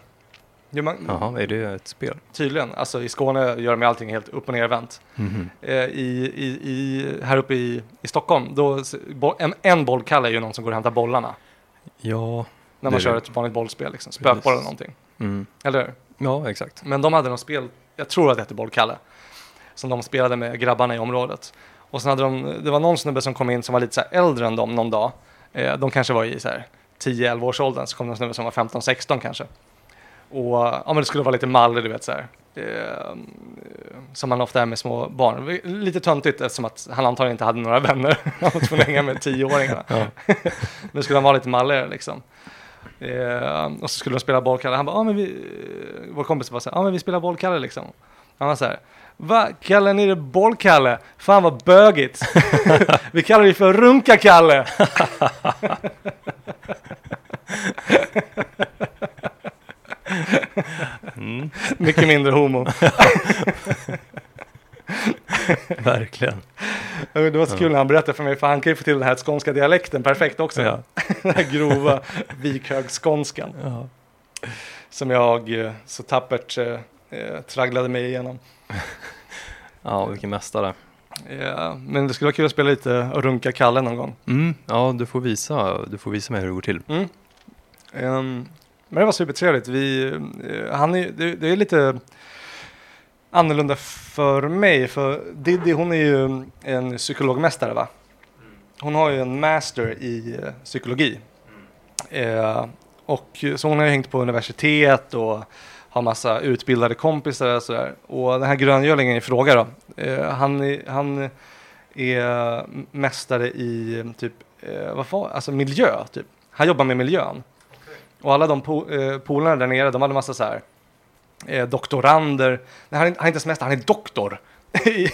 Gör man,
Jaha, är det ett spel?
tydligen, alltså i Skåne gör de ju allting helt upp och nervänt. Eh, i, i, i, här uppe i, i Stockholm, då, s- bo, en, en bollkalle är ju någon som går och hämtar bollarna.
Ja.
När
Det
man
är
kör
det.
ett vanligt bollspel, liksom,
Precis.
spökboll eller någonting.
Mm.
Eller hur?
Ja, exakt.
Men de hade något spel, jag tror att det hette Bollkalle, som de spelade med grabbarna i området. Och sen hade de, det var någon snubbe som kom in som var lite så här äldre än dem någon dag. Eh, de kanske var i så här 10-11 års åldern, så kom det en snubbe som var 15-16 kanske. Och ja, men det skulle vara lite mallig, du vet så här. Eh, som man ofta är med små barn. Lite töntigt eftersom att han antagligen inte hade några vänner. Han var tvungen att hänga med tioåringarna.
Ja.
Men skulle han vara lite malligare liksom. Eh, och så skulle de spela bollkalle. Han bara, ah, men vi, eh, vår kompis bara så här, ah, men vi spelar bollkalle liksom. Han var så här, va, kallar ni det bollkalle? Fan vad bögigt. vi kallar det för runka-kalle.
Mm.
Mycket mindre homo.
Verkligen.
Det var så kul när han berättade för mig, för han kan ju få till den här skånska dialekten perfekt också.
Ja.
Den här grova vikhögskånskan
Ja.
som jag eh, så tappert eh, eh, tragglade mig igenom.
ja, vilken mästare.
Eh, men det skulle vara kul att spela lite och runka Kalle någon gång.
Mm. Ja, du får, visa, du får visa mig hur det går till.
Mm. Ehm, men det var supertrevligt. Vi, eh, han är, det, det är lite annorlunda för mig, för Diddy hon är ju en psykologmästare va? Hon har ju en master i eh, psykologi. Eh, och så hon har ju hängt på universitet och har massa utbildade kompisar och sådär. Och den här gröngölingen i fråga då, eh, han, är- han är mästare i eh, typ, eh, vad var, alltså miljö typ. Han jobbar med miljön. Och alla de po- eh, polarna där nere, de hade massa så här eh, doktorander. Nej, han, är, han är inte semester, han är doktor i,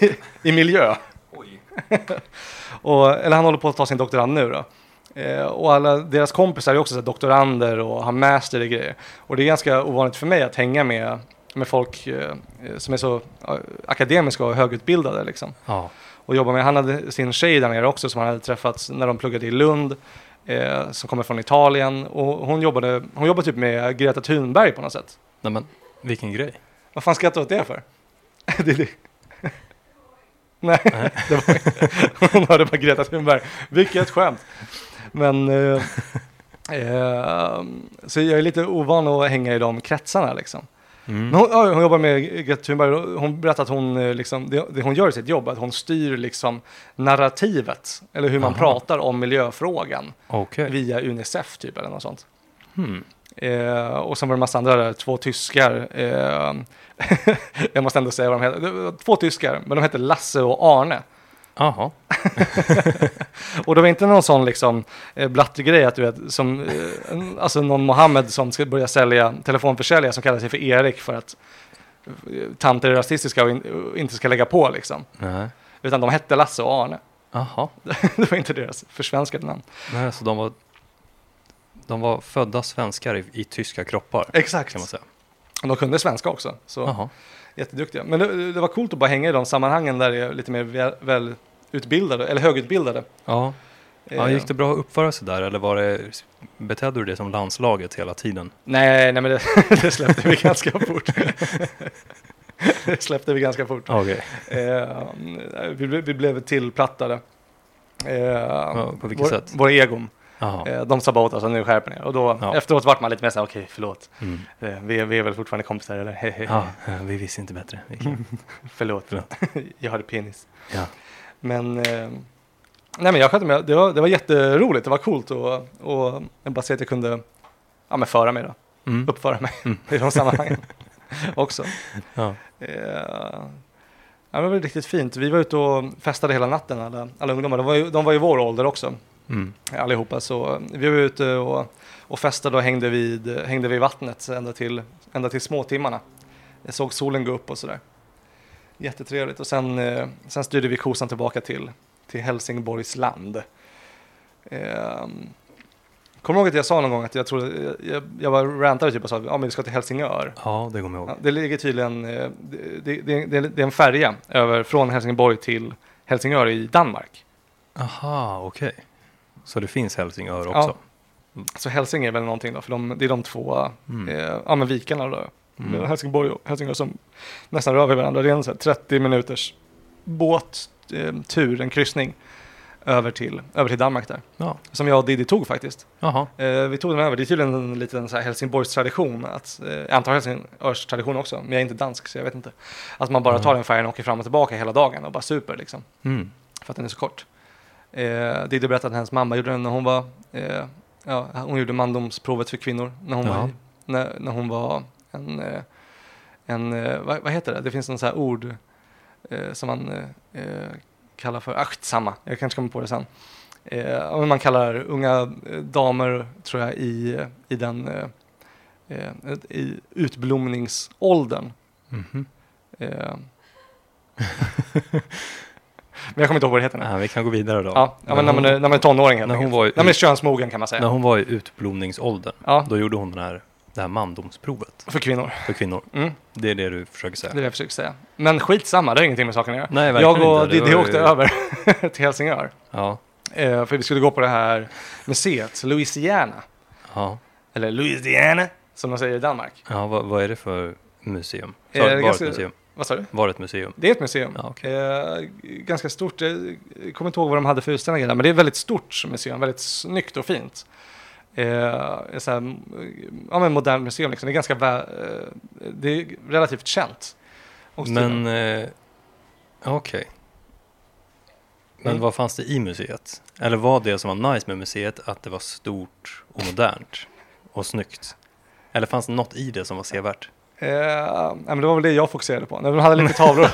i miljö. och, eller han håller på att ta sin doktorand nu då. Eh, och alla deras kompisar är också så här, doktorander och har master i grejer. Och det är ganska ovanligt för mig att hänga med, med folk eh, eh, som är så eh, akademiska och högutbildade liksom
Ja.
och jobbar med. Han hade sin tjej där nere också som han hade träffat när de pluggade i Lund, eh, som kommer från Italien. Och hon jobbade, hon jobbade typ med Greta Thunberg på något sätt.
Nej men, vilken grej.
Vad fan skrattar du åt det för? det är det. Nej, det var inte. hon hörde bara Greta Thunberg. Vilket skämt. Men, eh, eh, så jag är lite ovan att hänga i de kretsarna liksom.
Mm.
Men hon, ja, hon jobbar med Greta Thunberg och hon berättar att hon, eh, liksom, det, det hon gör i sitt jobb, att hon styr liksom narrativet, eller hur man
Aha.
pratar om miljöfrågan
Okej.
via Unicef typ eller något sånt.
Hmm.
Eh, och sen var det en massa andra där, två tyskar. Eh, jag måste ändå säga vad de heter. Det var Två tyskar, men de hette Lasse och Arne.
Jaha.
Och det var inte någon sån liksom eh, blattegrej att du vet, som, eh, en- alltså någon Mohammed som ska börja sälja, telefonförsälja som kallar sig för Erik för att eh, tanter är rasistiska och, in, och inte ska lägga på liksom.
Nej.
Utan de hette Lasse och Arne.
Jaha.
det var inte deras försvenskade namn.
Nej, så de var, de var födda svenskar i, i tyska kroppar
Exakt.
kan man säga.
Och de kunde svenska också. Så
Jaha.
jätteduktiga. Men det, det var coolt att bara hänga i de sammanhangen där det är lite mer väl, välutbildade, eller högutbildade.
Ja. ja.
Eh,
Gick det bra att uppföra sig där eller var det, betedde du dig som landslaget hela tiden?
Eh, Nej, nej men det, det släppte vi ganska fort. det släppte vi ganska fort.
Okej.
Eh, vi, blev- vi blev tillplattade. Eh,
på vilket
vår,
sätt?
Våra egon.
Jaha.
Eh, de sa bara åt oss att nu skärper ni er. Och då
Ja.
efteråt vart man lite mer såhär, okej förlåt.
Mm.
Eh, vi, vi är väl fortfarande kompisar eller? Hehe,
Ja, eh, Mm. vi visste inte bättre. Vi kan-
förlåt.
Förlåt.
jag hade penis.
Ja.
Men, eh, nej men jag skötte mig. Det var, det var jätteroligt. Det var coolt och, och jag bara se att jag kunde ja, men föra mig då.
Mm.
Uppföra mig
Mm.
i de sammanhangen också.
Ja.
Eh, Ja, det var riktigt fint. Vi var ute och festade hela natten, alla, alla ungdomar. De var, ju, de var ju vår ålder också,
Mm.
allihopa. Så eh, vi var ute och, och festade och hängde vid, hängde vid vattnet ända till, ända till småtimmarna. Jag såg solen gå upp och sådär. Jättetrevligt. Och sen, eh, sen styrde vi kosan tillbaka till, till Helsingborgs land. Eh, Kommer du ihåg att jag sa någon gång att jag trodde, jag- jag, jag bara rantade typ och sa att ja, men vi ska till Helsingör.
ja, det kommer jag
Ja,
ihåg.
det ligger tydligen, eh, det, det, det, det är en färja över från Helsingborg till Helsingör i Danmark.
Aha, okej. Så det finns Helsingör
Ja.
också?
Så Helsing är väl någonting då, för de, det är de två
Mm.
eh, ja, men vikarna då.
Mm.
Helsingborg och Helsingör som nästan rör vid varandra. Det är en så här 30 minuters båttur, en kryssning över till, över till Danmark där.
Mm. Ja.
Som jag och Diddy tog faktiskt.
Jaha.
Eh, vi tog den över, det är tydligen en liten så här Helsingborgstradition, att, eh, jag antar Helsingörstradition också, men jag är inte dansk så jag vet inte. Att man bara
Mm.
tar den färjan och åker fram och tillbaka hela dagen och bara super liksom.
Mm.
för att den är så kort. Eh, Didde berättade att hennes mamma gjorde den när hon var, eh, ja, hon gjorde mandomsprovet för kvinnor när hon,
Ja.
var, när, när hon var en, eh, en eh, vad, vad heter det, det finns någon så här ord eh, som man eh, eh, kallar för, ach, samma, jag kanske kommer på det sen. Eh, ja, men man kallar unga eh, damer, tror jag, i, i den eh, eh, i utblomningsåldern.
Mhm.
Eh. Men jag kommer inte ihåg vad det heter nu.
Nej, vi kan gå vidare då.
Ja, ja men när,
hon,
man är, när man är tonåring helt
när hon
enkelt.
var i,
När man är könsmogen kan man säga.
när hon var i utblomningsåldern,
Ja,
då gjorde hon den här, det här mandomsprovet
för kvinnor.
för kvinnor.
Mm,
Det är det du försöker säga?
det är det jag försöker säga. Men skitsamma, det har ingenting med saken att göra.
Nej, verkligen
Jag och
inte. Det
Diddy
var ju-
åkte över till Helsingör.
Ja.
Eh, för vi skulle gå på det här museet, Louisiana.
ja.
Eller Louisiana, som de säger i Danmark.
ja vad, vad är det för museum?
Eh,
Så, var, det ett
ganska-
museum?
Vad sa du?
var det ett museum?
Det är ett museum.
Ja, okej.
Eh, ganska stort. Eh, Jag kommer inte ihåg vad de hade för utställningar där, men det är ett väldigt stort museum. Väldigt snyggt och fint. eh, så här, mm, ja, men modern museum. Liksom. Det är ganska vä- eh, det är relativt känt. Och
Men, eh, ja, okej. Men
Mm.
vad fanns det i museet? Eller var det som var nice med museet att det var stort och modernt och snyggt? Eller fanns det något i det som var sevärt?
Eh, ja, men det var väl det jag fokuserade på. Nej, men De hade lite tavlor.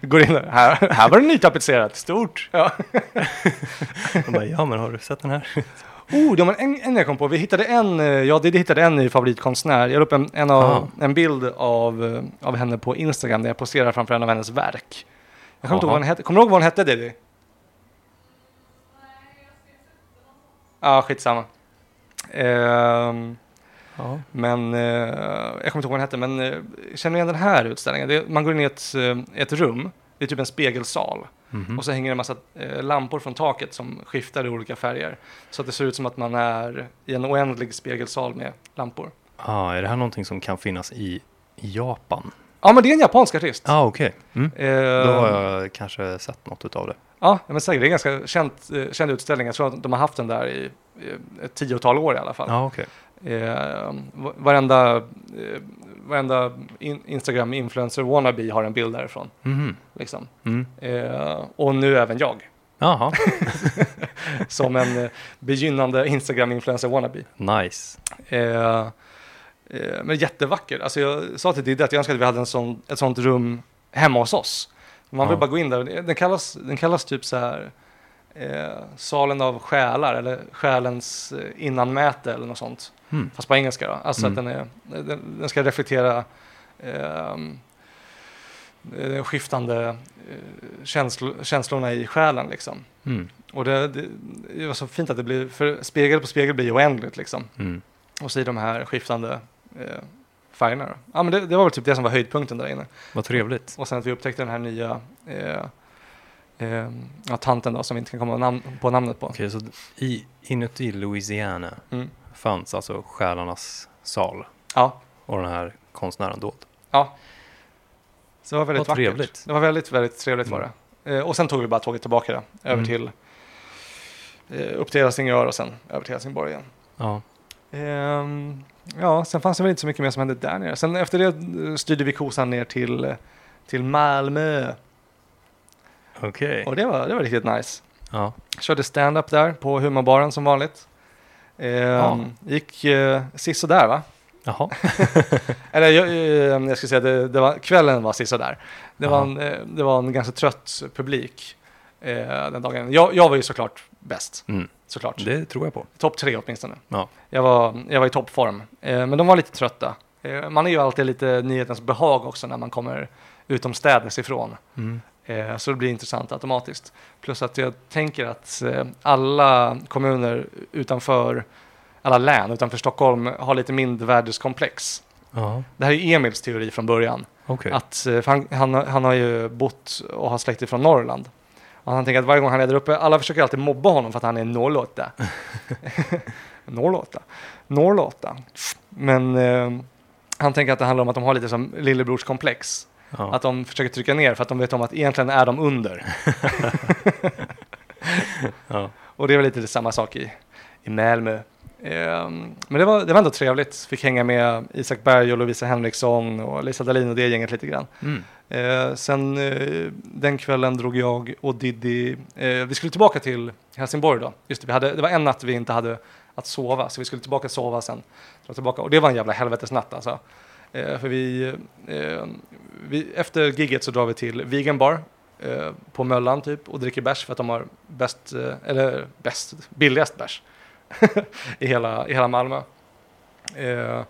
Går in där. Här, här var det nytapetserat. Stort. Ja.
Jag bara, ja men har du sett den här?
Oh, ja, men en, en jag kom på. Vi hittade en, eh, ja, det, det hittade en ny favoritkonstnär. Jag la upp en, en, av,
Ah.
en bild av, eh, av henne på Instagram där jag poserar framför en av hennes verk. Jag kommer inte ihåg
Jaha.
vad hon hette. Kommer du ihåg vad hon hette, Diddy? Nej, Ja, skitsamma. Ehm,
Ja.
men eh, jag kommer inte ihåg vad den hette, men eh, känner ni igen den här utställningen? Det, man går in i ett, eh, ett rum, det är typ en spegelsal.
Mhm. Mm.
Och så hänger det en massa eh, lampor från taket som skiftar i olika färger. Så att det ser ut som att man är i en oändlig spegelsal med lampor.
Ah, är det här någonting som kan finnas i Japan?
Ja, men det är en japansk artist.
Ja, ah, okej. Mm.
Eh,
Då har jag kanske sett något utav det.
Ja, men säkert. Det är en ganska känd, eh, känd utställning. Jag tror att de har haft den där i eh, ett tiotal år i alla fall.
Ja, ah, okej.
Eh, va- varenda eh, varenda in, Instagram-influencer-wannabe har en bild därifrån.
Mhm.
Liksom.
Mm.
Eh, och nu även jag,
Jaha,
som en eh, begynnande Instagram-influencer wannabe.
nice.
Eh, eh, men jättevacker. Alltså jag sa till Didde att jag önskar att vi hade en sån, ett sånt rum hemma hos oss. Man vill
Ja.
bara gå in där. Den kallas, den kallas typ så här eh, salen av själar eller själens eh, innanmäte eller något sånt.
Mm.
Fast på engelska då. Alltså
Mm.
att den, är, den, den ska reflektera ehm, de skiftande eh, känslo, känslorna i själen liksom.
Mm.
Och det, det, det var så fint att det blir, för spegel på spegel blir oändligt liksom.
Mm.
Och så i de här skiftande eh, färgerna. Då. Ja, men det, det var väl typ det som var höjdpunkten där inne.
Vad trevligt.
Och sen att vi upptäckte den här nya eh, eh, ja, tanten då, som vi inte kan komma namn, på namnet på.
Okej, så i, inuti Louisiana
Mm.
fanns alltså själarnas sal
Ja,
och den här konstnären dold.
så det var
Vad
väldigt vackert.
trevligt.
Det var väldigt, väldigt trevligt var
Mm.
det. Eh, och sen tog vi bara tåget tillbaka då, över
Mm.
till eh, upp till Helsingör och sen över till Helsingborg igen.
Ja.
Ehm, ja, sen fanns det väl inte så mycket mer som hände där nere. Sen efter det eh, styrde vi kosan ner till, eh, till Malmö.
Okej.
Och det var, det var riktigt nice.
Ja.
Körde stand-up där på humorbaren som vanligt. Eh, Gick eh, sisådär va?
Jaha.
Eller jag, eh, jag ska säga, det, det var, kvällen var sisådär. Det, var
Jaha.
en, eh, det var en ganska trött publik eh, den dagen. Jag, jag var ju såklart bäst,
Mm.
såklart.
Det tror jag på.
Topp tre åtminstone.
Ja.
Jag, var, jag var i toppform, eh, men de var lite trötta. Eh, man är ju alltid lite nyhetens behag också när man kommer utomstädes ifrån.
Mm.
Eh, Så det blir intressant automatiskt. Plus att jag tänker att eh, alla kommuner utanför, alla län utanför Stockholm har lite mindervärdeskomplex.
Ja.
Det här är Emils teori från början.
Okej.
Att, eh, för han, han, har- han har ju bott och har släkter från Norrland. Och han tänker att varje gång han är där uppe, alla försöker alltid mobba honom för att han är norrlåta. norrlåta. Norrlåta. Men eh, han tänker att det handlar om att de har lite som lillebrorskomplex.
Ja.
Att de försöker trycka ner för att de vet om att egentligen är de under.
Ja.
Och det är väl lite samma sak i, i Malmö. Ehm, men det var, det var ändå trevligt. Fick hänga med Isak Berg och Lovisa Henriksson och Lisa Dahlin och det gänget lite grann.
Mm.
Eh, sen eh, den kvällen drog jag och Diddy, eh, vi skulle tillbaka till Helsingborg då. Just det, vi hade, det var en natt vi inte hade att sova, så vi skulle tillbaka sova sen. Dra tillbaka. Och det var en jävla helvetesnatt alltså. Eh, för vi, eh, vi, efter gigget så drar vi till Vegan Bar eh, på Möllan typ och dricker bärs för att de har bäst, eh, eller bäst, billigast bärs i, hela, i hela Malmö. Eh,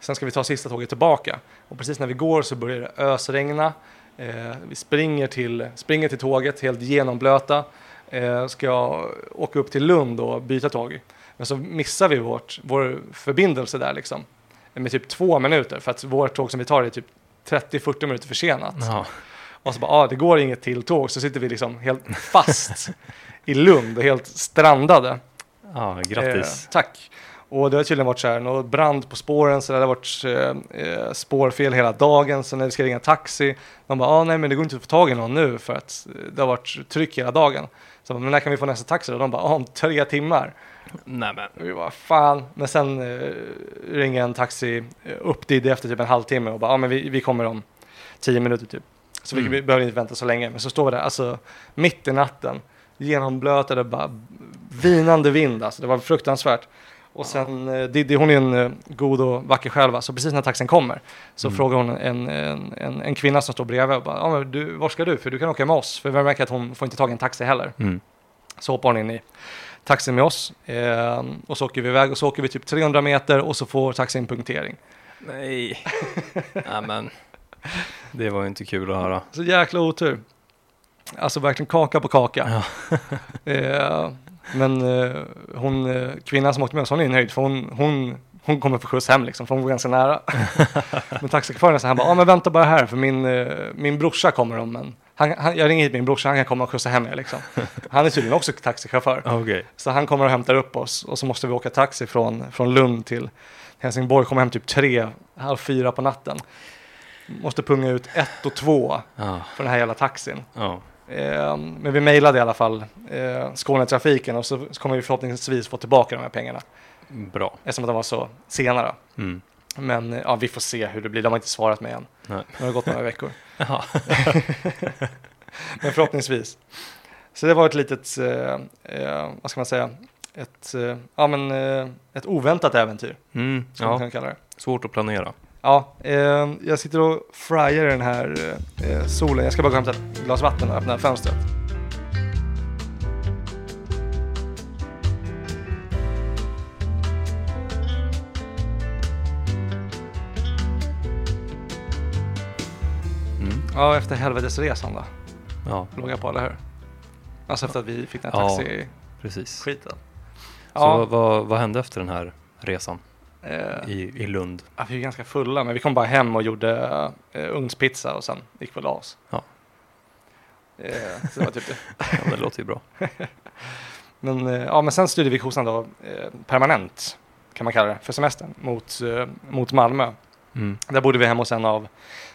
sen ska vi ta sista tåget tillbaka. Och precis när vi går så börjar det ösregna. Eh, vi springer till, springer till tåget helt genomblöta. Eh, ska åka upp till Lund och byta tåg. Men så missar vi vårt, vår förbindelse där liksom. Med typ två minuter för att vårt tåg som vi tar är typ 30-40 minuter försenat.
Ja.
Och så bara, ah, det går inget till tåg. Så sitter vi liksom helt fast i Lund, helt strandade.
ja, grattis.
Eh, tack. Och det har tydligen varit så här, någon brand på spåren, så det har varit eh, eh, spårfel hela dagen, så när vi ska ringa taxi, man bara, ah, nej men det går inte att få tag i någon nu för att eh, det har varit tryck hela dagen. Så jag bara, men när kan vi få nästa taxi då? De bara, ah, om tre timmar.
Nej men.
Och vi bara, fan. Men sen eh, ringer en taxi eh, upp dit efter typ en halvtimme och bara, ja ah, men vi, vi kommer om tio minuter typ. Så vi
Mm.
behöver inte vänta så länge. Men så står vi där, alltså mitt i natten, genomblötade, bara vinande vind, alltså det var fruktansvärt. Och sen, eh, Diddy hon är en eh, god och vacker själ, va? så precis när taxin kommer så
Mm.
frågar hon en, en, en, en kvinna som står bredvid och bara, ja men du, var ska du? För du kan åka med oss, för vi märker att hon får inte tag i en taxi heller.
Mm.
Så hoppar hon in i taxin med oss eh, och så åker vi iväg och så åker vi typ 300 meter och så får taxin punktering.
Nej. Nej men. Det var ju inte kul att höra.
Så jäkla otur. Alltså verkligen kaka på kaka. eh, men eh, hon, eh, kvinnan som åkte med oss, hon är nöjd för hon, hon, hon kommer få skjuts hem liksom, för hon bor ganska nära. men taxichauffören så han bara, ja ah, men vänta bara här för min, eh, min brorsa kommer om en han, han, jag ringer hit min brorsa, han kan komma och skjutsa hem er liksom. Han är tydligen också taxichaufför.
Okej.
Så han kommer och hämtar upp oss och så måste vi åka taxi från, från Lund till Helsingborg. Kommer hem typ tre, halv fyra på natten. Måste punga ut ett och två
Ja.
för den här jävla taxin.
Ja.
Eh, men vi mejlade i alla fall eh, Skånetrafiken och så kommer vi förhoppningsvis få tillbaka de här pengarna.
Bra.
Eftersom att de var så sena då.
Mm.
Men eh, ja, vi får se hur det blir. De har inte svarat mig än.
Nej.
Nu har det gått några veckor.
Jaha.
Men förhoppningsvis. Så det var ett litet, eh, eh, vad ska man säga, ett, eh, ja, men, eh, ett oväntat äventyr.
Mm.
Ska man
Ja.
kunna kalla det.
Svårt att planera.
Ja, eh, jag sitter och fryar i den här eh, solen. Jag ska bara gå och hämta ett glas vatten och öppna fönstret.
Mm.
Ja, efter helvetesresan då,
Ja,
låg jag på, eller hur? Alltså efter att vi fick den här
Ja.
taxi-skiten.
precis. Så
Ja,
vad, vad, vad hände efter den här resan
eh,
i, i Lund?
ja, vi var ganska fulla, men vi kom bara hem och gjorde eh, ugnspizza och sen gick vi och la oss.
Ja.
Eh, så det var typ det.
Ja, det låter ju bra.
Men, eh, ja, men sen styrde vi kossan då eh, permanent, kan man kalla det, för semestern, mot, eh, mot Malmö.
Mm.
Där bodde vi hemma hos en av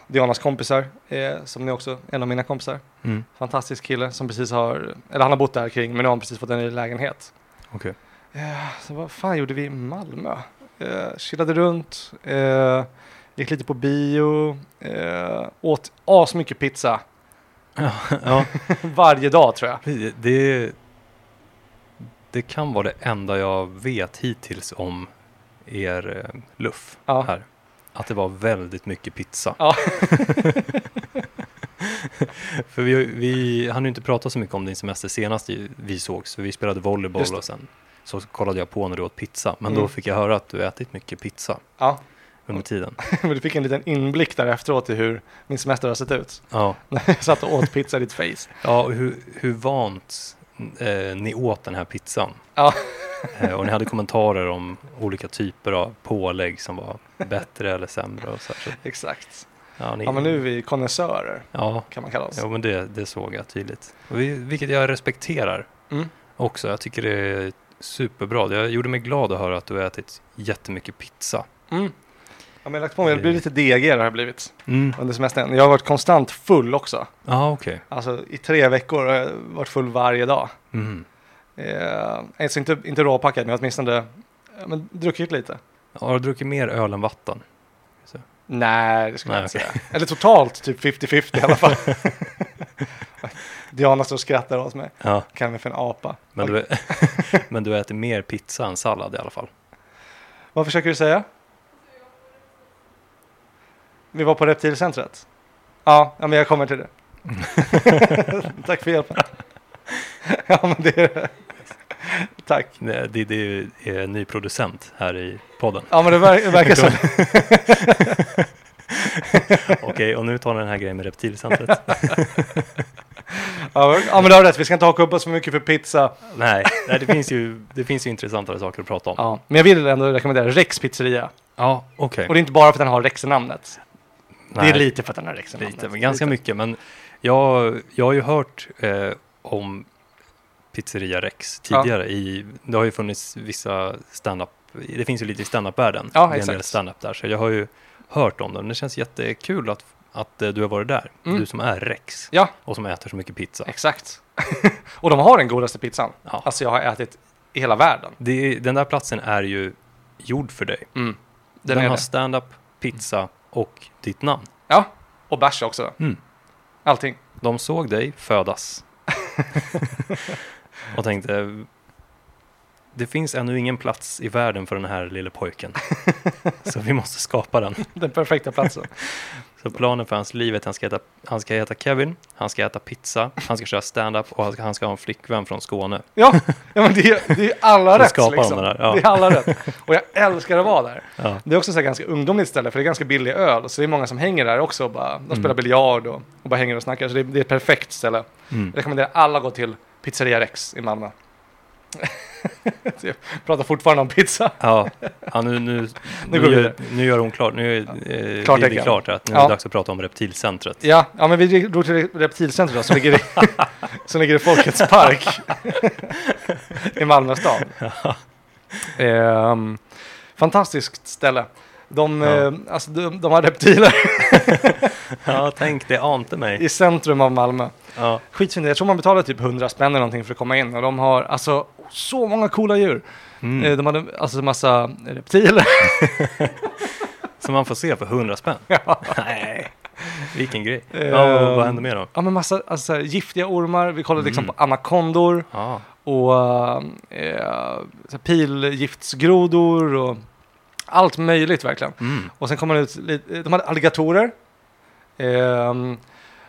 Dianas kompisar, eh, som nu också en av mina kompisar.
Mm.
Fantastisk kille som precis har, eller han har bott där kring, men nu har han precis fått en ny lägenhet.
Okej.
Eh, så vad fan gjorde vi i Malmö? Eh, chillade runt, eh, gick lite på bio, eh, åt asmycket pizza
Ja,
varje dag tror jag.
precis. det, det kan vara det enda jag vet hittills om er eh, luff
Ja.
här. Att det var väldigt mycket pizza.
Ja.
För vi, vi hann ju inte prata så mycket om din semester senast ju- vi sågs. För vi spelade volleyboll
Just det.
och sen så kollade jag på när du åt pizza. Men då
Mm.
fick jag höra att du ätit mycket pizza
Ja,
under tiden.
men du fick en liten inblick där efteråt i hur min semester har sett ut.
Ja.
När jag satt och åt pizza i ditt face.
Ja, och hur, hur vant eh, ni åt den här pizzan.
Ja.
Eh, och ni hade kommentarer om olika typer av pålägg som var bättre eller sämre. Och så här. Så,
Exakt.
ja, ni,
Ja, men nu är vi konnässörer,
Ja,
kan man kalla oss.
ja men det, det såg jag tydligt. Och vi, vilket jag respekterar
Mm.
också. Jag tycker det är superbra. Jag gjorde mig glad att höra att du har ätit jättemycket pizza.
Mm. Ja, men jag har lagt på mig, det blir
Eh.
lite DG det har blivit
Mm.
under semestern. Jag har varit konstant full också.
Ja, okej.
Alltså i tre veckor har jag varit full varje dag.
Mm.
Eh, alltså inte, inte råpackad, men åtminstone ja, men, druckit lite.
Har du druckit mer öl än vatten?
Nej, det skulle jag
Nej,
inte säga. Eller totalt typ 50-50 i alla fall. Diana står och skrattar åt mig.
Ja,
Kan vi för en apa?
men du, men du äter mer pizza än sallad i alla fall.
Vad försöker du säga? Vi var på Reptilcentret. Ja, ja men jag kommer till det. Tack för hjälpen. ja, men det är det. Tack.
Nej, Det, det är en ny producent här i podden.
Ja, men det ver- verkar så.
Okej, och nu tar den här grejen med reptilcentret.
Ja, men- ja, men du har rätt. Vi ska inte haka upp oss för mycket för pizza.
nej, nej det, finns ju, det finns ju intressantare saker att prata om.
Ja, men jag vill ändå rekommendera Rex pizzeria.
Ja, okej.
Och det är inte bara för att den har Rex-namnet. Det
Nej,
är lite för att den har Rex-namnet.
lite, men ganska mycket. Men jag, jag har ju hört eh, om Pizzeria Rex tidigare. I, det har ju funnits vissa stand-up det finns ju lite i standup-världen.
Ja,
det är en del
exakt.
standup där, så jag har ju hört om det. Men det känns jättekul att, att eh, du har varit där.
Mm.
Du som är Rex
Ja.
och som äter så mycket pizza.
Exakt. och de har den godaste pizzan.
Ja.
Alltså jag har ätit i hela världen. Mm.
Det, den där platsen är ju gjord för dig.
Den
den
är
har
det.
stand-up, pizza och ditt namn.
Och bärs också.
Mm.
Allting.
De såg dig födas och tänkte det finns ännu ingen plats i världen för den här lille pojken. Så vi måste skapa den.
Den perfekta platsen.
Så planen för hans liv är att han ska äta, han ska äta Kevin, han ska äta pizza, han ska köra stand-up och han ska, han ska ha en flickvän från Skåne.
ja, ja men det är, det är alla
Då
rätt
skapar de
liksom.
den där, ja.
Det är alla rätt. Och jag älskar att vara där.
Ja.
Det är också så här ganska ungdomligt ställe för det är ganska billig öl. Så det är många som hänger där också. Och bara, de spelar biljard och, och bara hänger och snackar. Så det, är- det är ett perfekt ställe.
Mm.
Jag rekommenderar alla att gå till Pizzeria Rex i Malmö. Jag pratar fortfarande om pizza.
Ja, ja nu, nu, nu,
går vi
gör,
vidare.
nu gör hon klart, nu är eh,
Klart
det är
tecken.
klart att nu är
Ja.
det dags att prata om reptilcentret.
Ja, ja men vi drog till Reptilcentrum då, som ligger i, som ligger i Folkets park i Malmö stad. Ehm, fantastiskt ställe. De,
Ja.
eh, alltså, de, de har reptiler
Ja, tänk det ante mig.
i centrum av Malmö.
Ja,
Skitfint, jag tror man betalar typ 100 spänn eller någonting för att komma in. Och de har alltså så många coola djur.
mm.
Eh, De hade alltså massa reptiler.
Som man får se för 100 spänn. Nej, vilken grej. Ja,
Ehm.
vad, vad händer med dem?
Ja men massa alltså, så här, giftiga ormar, vi kollade
Mm.
liksom på anakondor.
Ja,
och eh, så här pilgiftsgrodor och allt möjligt verkligen.
mm.
Och sen kommer det ut lite, de hade alligatorer. Eh,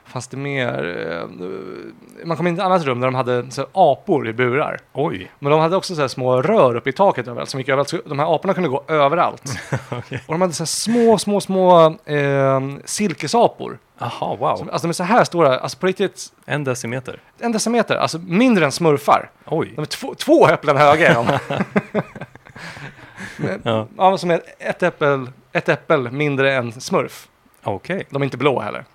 fanns det mer? Eh, man kom in i ett annat rum där de hade så här, apor i burar.
Oj,
Men de hade också så här, små rör uppe i taket överallt som gick överallt. Så de här aporna kunde gå överallt. Och de hade så här, små, små, små eh, silkesapor.
aha, wow.
Som, alltså de är så här stora, alltså på riktigt
En decimeter.
en decimeter, alltså mindre än smurfar.
Oj.
De är två, två äpplen höga är de. Men-
Ja.
ja, men som är ett äppel, ett äppel mindre än smurf.
Okej.
De är inte blå heller.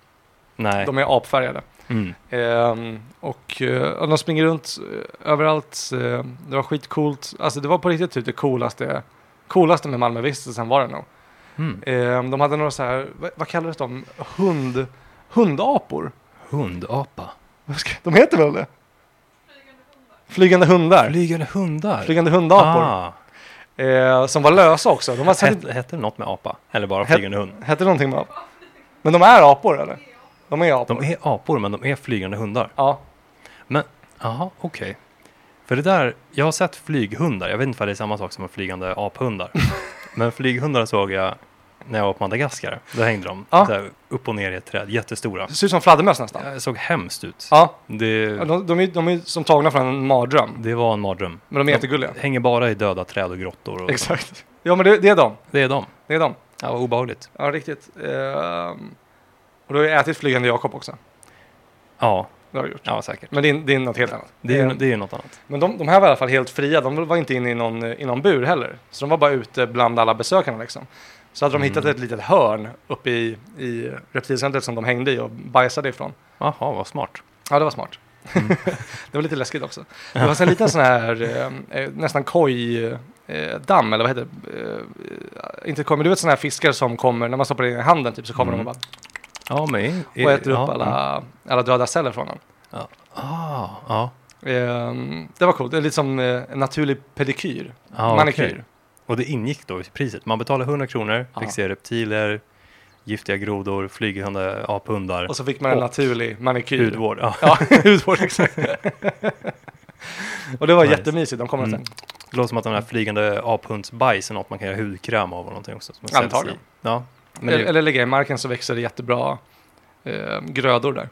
Nej.
De är apfärgade.
Mm.
Ehm, och, eh, och de springer runt eh, överallt. Eh, det var skitcoolt. Alltså det var på riktigt typ det coolaste, coolaste med Malmövistelsen var det nog.
Mm.
Ehm, de hade några så här, vad, vad kallades de? Hund, hundapor?
Hundapa.
Vad ska- De heter väl det? Flygande hundar.
Flygande hundar.
Flygande hundapor.
Ah.
Eh, som var lösa också. De var säkert
Hette, hette det något med apa? Eller bara
Het-
flygande hund?
Hette någonting med apor? Men de är apor eller? De är apor.
De är apor, men de är flygande hundar.
Ja.
Jaha, okej. För det där, jag har sett flyghundar. Jag vet inte om det är samma sak som en flygande aphundar. men flyghundar såg jag när jag var på Madagaskar. Då hängde de
Ja.
så här, upp och ner i ett träd, jättestora.
Det ser ut som fladdermöss nästan.
Det såg hemskt ut.
Ja.
Det,
De, de, är, de är som tagna från en mardröm.
det var en mardröm.
Men de är
Ja.
jättegulliga.
Hänger bara i döda träd och grottor. Och
Exakt. Ja men det, det är de.
Det är de.
Det är de.
Ja, vad obehagligt.
Ja riktigt. Ehm, och då har jag ätit flygande Jakob också.
Ja,
Det har jag gjort.
ja säkert.
Men det är, det är något helt annat.
Det är, ju-
Ehm,
det är ju något annat.
Men de, de här var i alla fall helt fria. De var inte inne i någon, i någon bur heller. Så de var bara ute bland alla besökarna liksom. Så hade de
Mm.
hittat ett litet hörn uppe i, i reptilcentret som de hängde i och bajsade ifrån.
Jaha, vad smart.
Ja, det var smart.
Mm.
det var lite läskigt också. Det fanns en liten sån här, eh, eh, nästan kojdamm, eh, damm, eller vad heter det? Eh, inte koj, men du vet såna här fiskar som kommer, när man stoppar in i handen typ, så kommer
Mm.
de och,
Ja, men...
bara, och äter
ja, mm.
upp alla, alla döda celler från den.
Ah, ja.
Eh, det var coolt, det är lite som eh, en naturlig pedikyr,
Ah,
manikyr.
Och det ingick då i priset. Man betalade 100 kronor, fick
Ja.
se reptiler, giftiga grodor, flygande aphundar,
Och så fick man en
Och
naturlig manikyr.
hudvård. Ja.
Ja, hudvård, exakt. och det var
Nice.
jättemysigt, de kommer
Mm.
sen.
Det låter som att den här flygande aphundsbajs är något man kan göra hudkräm av och någonting också. Som säljs i-
Antagligen.
Ja. Men
Eller,
det,
eller lägga i marken så växer det jättebra eh, grödor där,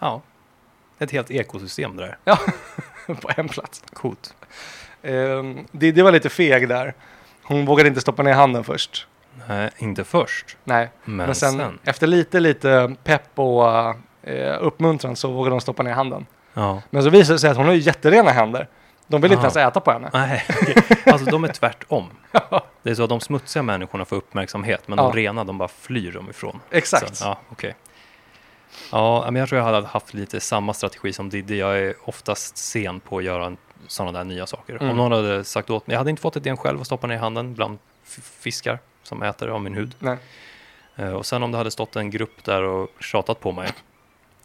ja. Ett helt ekosystem det där.
på en plats.
Coolt.
Ehm, det, det var lite feg där. Hon vågade inte stoppa ner handen först.
Nej, inte först,
Nej,
men,
men,
sen.
sen, efter lite, lite pepp och eh, uppmuntran så vågade de stoppa ner handen.
Ja.
Men så visade det sig att hon har ju jätterena händer. De vill inte
Aha.
ens äta på henne.
Nej, okej. alltså de är tvärtom. Det är så att de smutsiga människorna får uppmärksamhet, men
Ja.
de rena, de bara flyr dem ifrån.
Exakt.
Så, ja, okej. Ja, men jag tror jag hade haft lite samma strategi som Diddy. Jag är oftast sen på att göra en sådana där nya saker.
Mm.
Om någon hade sagt åt mig, jag hade inte fått idén själv att stoppa ner i handen bland f- fiskar som äter av min hud.
Nej.
Eh, Och sen om det hade stått en grupp där och tjatat på mig,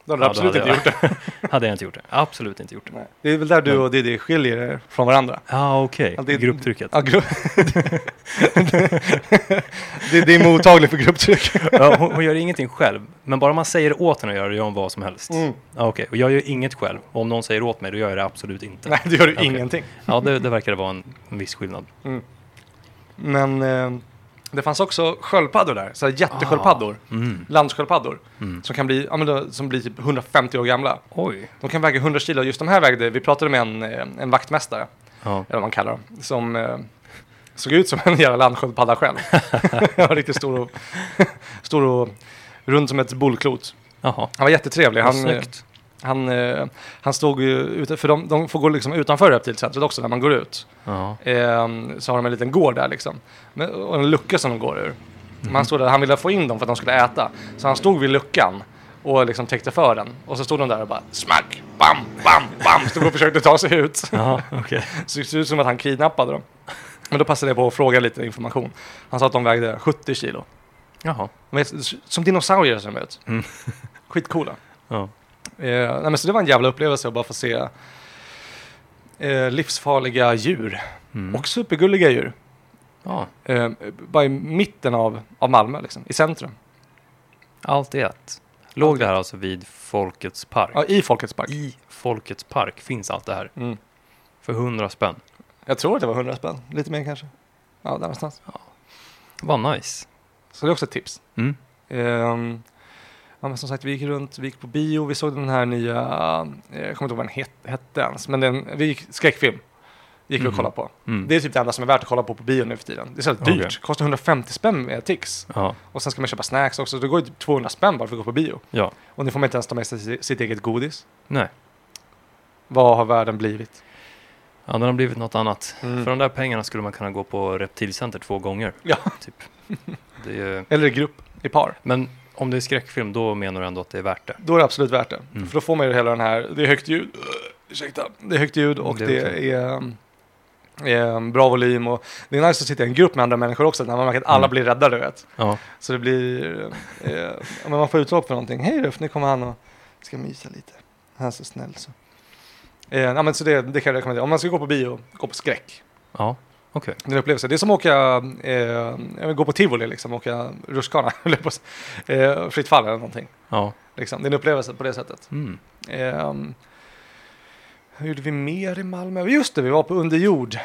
Då hade
Ja, då
du absolut
hade
inte
jag-
gjort det.
hade jag inte gjort det. Absolut inte gjort det.
Nej. Det är väl där du och Diddy skiljer er från varandra.
Ja, okej.
Ja, det-
Grupptrycket.
Ja, gru- det, det är mottagligt för grupptryck.
Ja, hon, hon gör ingenting själv, men bara man säger åt henne att göra det, gör hon vad som helst.
Mm.
Ja, okej. Och jag gör inget själv, och om någon säger åt mig, då gör jag det absolut inte.
Nej, det gör du
Okej.
ingenting.
Ja, det, det verkar vara en, en viss skillnad.
Men eh, det fanns också sköldpaddor där, så här jättesköldpaddor.
Mm.
Landsköldpaddor
Mm.
som kan bli, ja, men då, som blir typ 150 år gamla.
Oj.
De kan väga 100 kilo. Just de här vägde, vi pratade med en, eh, en vaktmästare,
Ja.
eller vad man kallar dem, som eh, såg ut som en jävla landsköldpadda själv. Han var riktigt stor och, stor och rund som ett bollklot.
Jaha.
Han var jättetrevlig.
Vad
Han, eh,
snyggt.
han, eh, han stod ju ute, för de, de får gå liksom utanför reptilcentret också när man går ut.
Ja.
Ehm, så har de en liten gård där liksom. Men, och en lucka som de går ur.
Mhm.
Men han, stod där, han ville få in dem för att de skulle äta. Så han stod vid luckan och liksom täckte för den. Och så stod de där och bara smack, bam, bam, bam. Stod och försökte ta sig ut.
Jaha, okej.
Så det såg ut som att han kidnappade dem. Men då passade jag på att fråga lite information. Han sa att de vägde 70 kilo.
Jaha.
De är som dinosaurier ser de ut.
Mm.
Skitcoola.
Ja.
Eh, nej, men så det var en jävla upplevelse att bara få se eh, livsfarliga djur.
Mm.
Och supergulliga djur.
ja.
eh, bara i mitten av, av Malmö, liksom, i centrum.
Allt i ett. Låg det här alltså vid Folkets park?
Ja, I Folkets park.
I Folkets park finns allt det här.
Mm.
För 100 spänn.
Jag tror att det var 100 spänn, lite mer kanske. Ja, där någonstans.
Vad nice.
Så det är också ett tips.
Mm.
Ehm, ja, men som sagt, vi gick runt, vi gick på bio, vi såg den här nya, eh, jag kommer inte ihåg vad den het, hette ens, men den, vi gick, skräckfilm gick vi och
Mhm.
kollade på.
Mm.
Det är typ det enda som är värt att kolla på på bio nu för tiden. Det är så här
Okej.
dyrt, kostar 150 spänn med tics.
Ja.
Och sen ska man köpa snacks också, det går ju typ 200 spänn bara för att gå på bio.
ja.
Och nu får man inte ens ta med sig sitt- sitt eget godis.
Nej.
Vad har världen blivit?
Ja, den har blivit något annat.
Mm.
För de där pengarna skulle man kunna gå på reptilcenter två gånger.
Ja.
Typ. Det är, ju-
Eller i grupp, i par.
men om det är skräckfilm, då menar du ändå att det är värt det?
Då är det absolut värt det.
Mm.
För då får man ju hela den här, det är högt ljud, ursäkta, det är högt ljud och
Det
det,
är okej.
är, um, em, bra volym och det är nice att sitta i en grupp med andra människor också när man märker att alla
Mm.
blir rädda, du vet.
Ja.
Så det blir, eh, ja, men man får utlopp för någonting. Hej Ruff, nu kommer han och ska mysa lite. Han är så snäll så. Eh, ja, men så det, det kan jag rekommendera. Om man ska gå på bio, gå på skräck.
Ja, okej.
Det är en upplevelse. Det är som att åka, eh, jag vill gå på tivoli liksom, åka rutschkana, eller på, eh, fritt fall eller någonting.
Ja.
Liksom. Det är en upplevelse på det sättet.
Mm.
Ehm, hur gjorde vi mer i Malmö? Just det, vi var på underjord.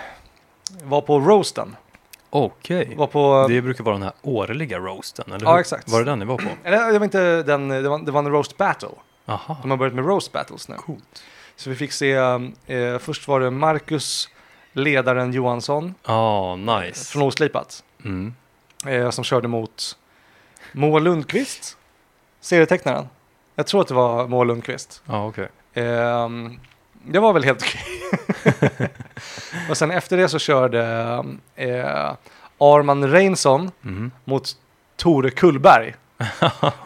Var på roasten.
Okej.
Var på,
Det brukar vara den här årliga roasten, eller
Ja,
hur?
exakt.
Var det den ni var på?
eller, det var inte den, det var, det var en roast battle.
Aha.
De har börjat med roast battles nu.
Coolt.
Så vi fick se, eh, först var det Marcus, ledaren Johansson
Ja,
från
nice.
Oslipat,
Mm.
eh, som körde mot Moa Lundqvist, serietecknaren. Jag tror att det var Moa Lundqvist.
Ja, okej.
Ehm, det var väl helt okej. och sen efter det så körde eh, Arman Reinsson
Mm.
mot Tore Kullberg.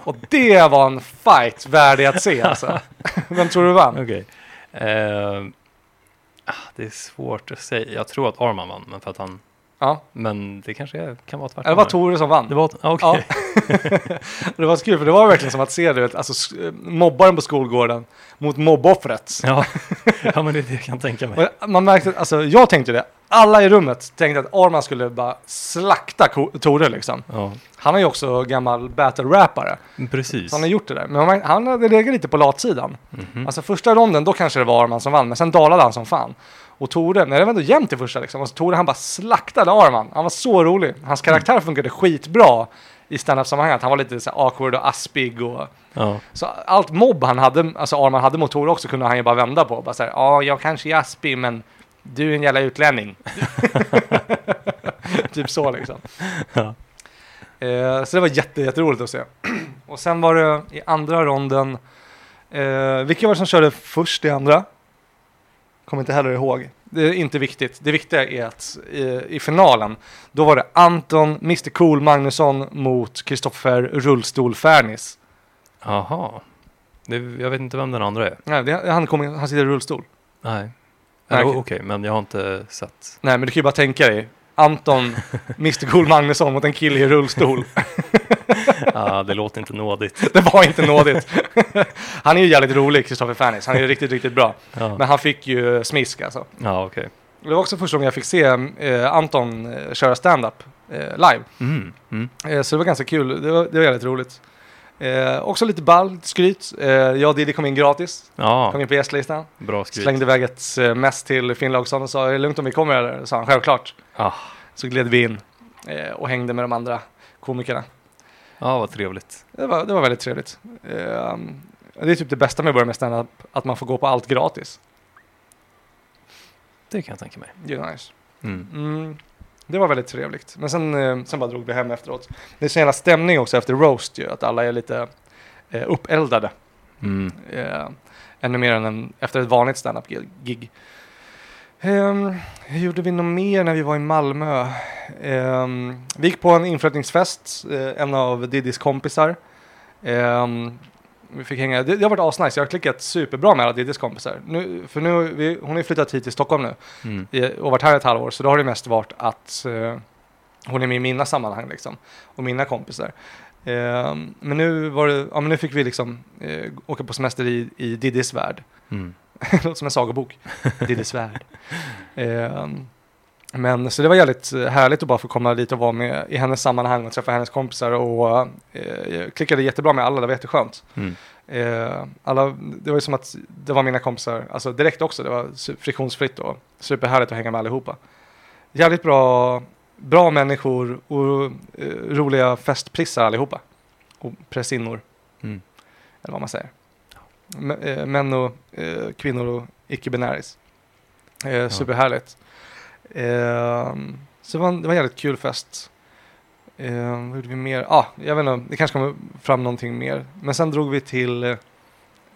och det var en fight värdig att se alltså. Vem tror du vann?
Okej. Ehm, ah, det är svårt att säga. Jag tror att Arman vann, men för att han...
Ja,
Men det kanske är, kan vara tvärtom.
det var
här.
Tore som vann.
Det var... ah, Okej.
Det var så kul för det var verkligen som att se du vet, alltså, sk- mobbaren på skolgården mot mobboffret.
Ja. ja, men det är det jag kan tänka mig.
Och Man märkte, att- alltså jag tänkte det, alla i rummet tänkte att Arman skulle bara slakta Ko- Tore liksom.
Ja,
Han är ju också gammal battle-rappare.
precis.
Så han har gjort det där. Men man- han hade legat lite på latsidan.
Mhm.
Alltså första ronden, då kanske det var Arman som vann, men sen dalade han som fan. Och Tore, nej det var ändå jämnt i första liksom. Alltså, Tore han bara slaktade Arman. Han var så rolig. Hans karaktär funkade skitbra i standup-sammanhanget. Han var lite så här awkward och aspig och...
Ja.
Så allt mobb han hade, alltså Arman hade mot Tore också kunde han ju bara vända på. Bara så här, ja jag kanske är aspig men du är en jävla utlänning. typ så liksom.
Ja.
Eh, så det var jätte, jätteroligt att se. Och sen var det i andra ronden, eh, vilka var det som körde först i andra? Kommer inte heller ihåg. Det är inte viktigt. Det viktiga är att i, i finalen, då var det Anton, Mr Cool Magnusson mot Kristoffer Rullstol Fernis.
Aha. Det, jag vet inte vem den andra är.
Nej, det, han, kom, in- han sitter i rullstol.
Nej. Eller,
okej.
Okej, men jag har inte sett.
Nej, men du kan ju bara tänka dig. Anton, Mr Cool Magnusson mot en kille i rullstol.
Ah, det låter inte nådigt.
Det var inte nådigt. Han är ju jävligt rolig, Christopher Fannis. Han är riktigt, riktigt bra. Men
Ja,
han fick ju smisk alltså.
ja okej.
Det var också första gången jag fick se eh, Anton eh, köra stand-up eh, live.
Mm, mm.
Eh, så det var ganska kul. Det var, det var jävligt roligt. Eh, också lite ball, lite skryt. Eh, jag och Diddy kom in gratis. Kom
Ja,
in på gästlistan.
bra skrivet.
Slängde iväg ett eh, mess till Finn Laugsson och sa är det lugnt om vi kommer eller? sa han självklart.
Ah.
Så gled vi in eh, och hängde med de andra komikerna.
Ja, vad trevligt.
Det var, det var väldigt trevligt. Eh, det är typ det bästa med att börja med standup, att man får gå på allt gratis.
Det kan jag tänka mig.
Det är nice.
Mm.
Mm, det var väldigt trevligt. Men sen, eh, sen bara drog vi hem efteråt. Det är så jävla stämning också efter roast ju, att alla är lite eh, uppeldade.
Mm.
Eh, ännu mer än en, efter ett vanligt standup gig. Ehm, hur gjorde vi något mer när vi var i Malmö? Ehm, vi gick på en inflyttningsfest, eh, en av Diddys kompisar. Ehm, vi fick hänga. Det, det har varit asnice, jag har klickat superbra med alla Diddys kompisar. Nu, för nu, vi, hon har ju flyttat hit till Stockholm nu
Mm.
i- och varit här ett halvår, så då har det mest varit att eh, hon är med i mina sammanhang liksom, och mina kompisar. Eh, men, nu var det, ja, men nu fick vi liksom eh, åka på semester i, i Diddys värld.
Mm.
Det låter som en sagobok. Diddys värld. Eh, men så det var jävligt eh, härligt att bara få komma dit och vara med i hennes sammanhang och träffa hennes kompisar och eh, jag klickade jättebra med alla, det var jätteskönt.
Mm.
Eh, alla, det var ju som att det var mina kompisar, alltså direkt också, det var su- friktionsfritt och superhärligt att hänga med allihopa. Jävligt bra, bra människor och eh, roliga festprissar allihopa. Och pressinnor,
Mm.
eller vad man säger. M- eh, män och eh, kvinnor och icke-binäris. Eh, superhärligt. Eh, så det var, en, det var en jävligt kul fest. Eh, vad gjorde vi mer? Ah, jag vet inte, det kanske kommer fram någonting mer. Men sen drog vi till... Eh,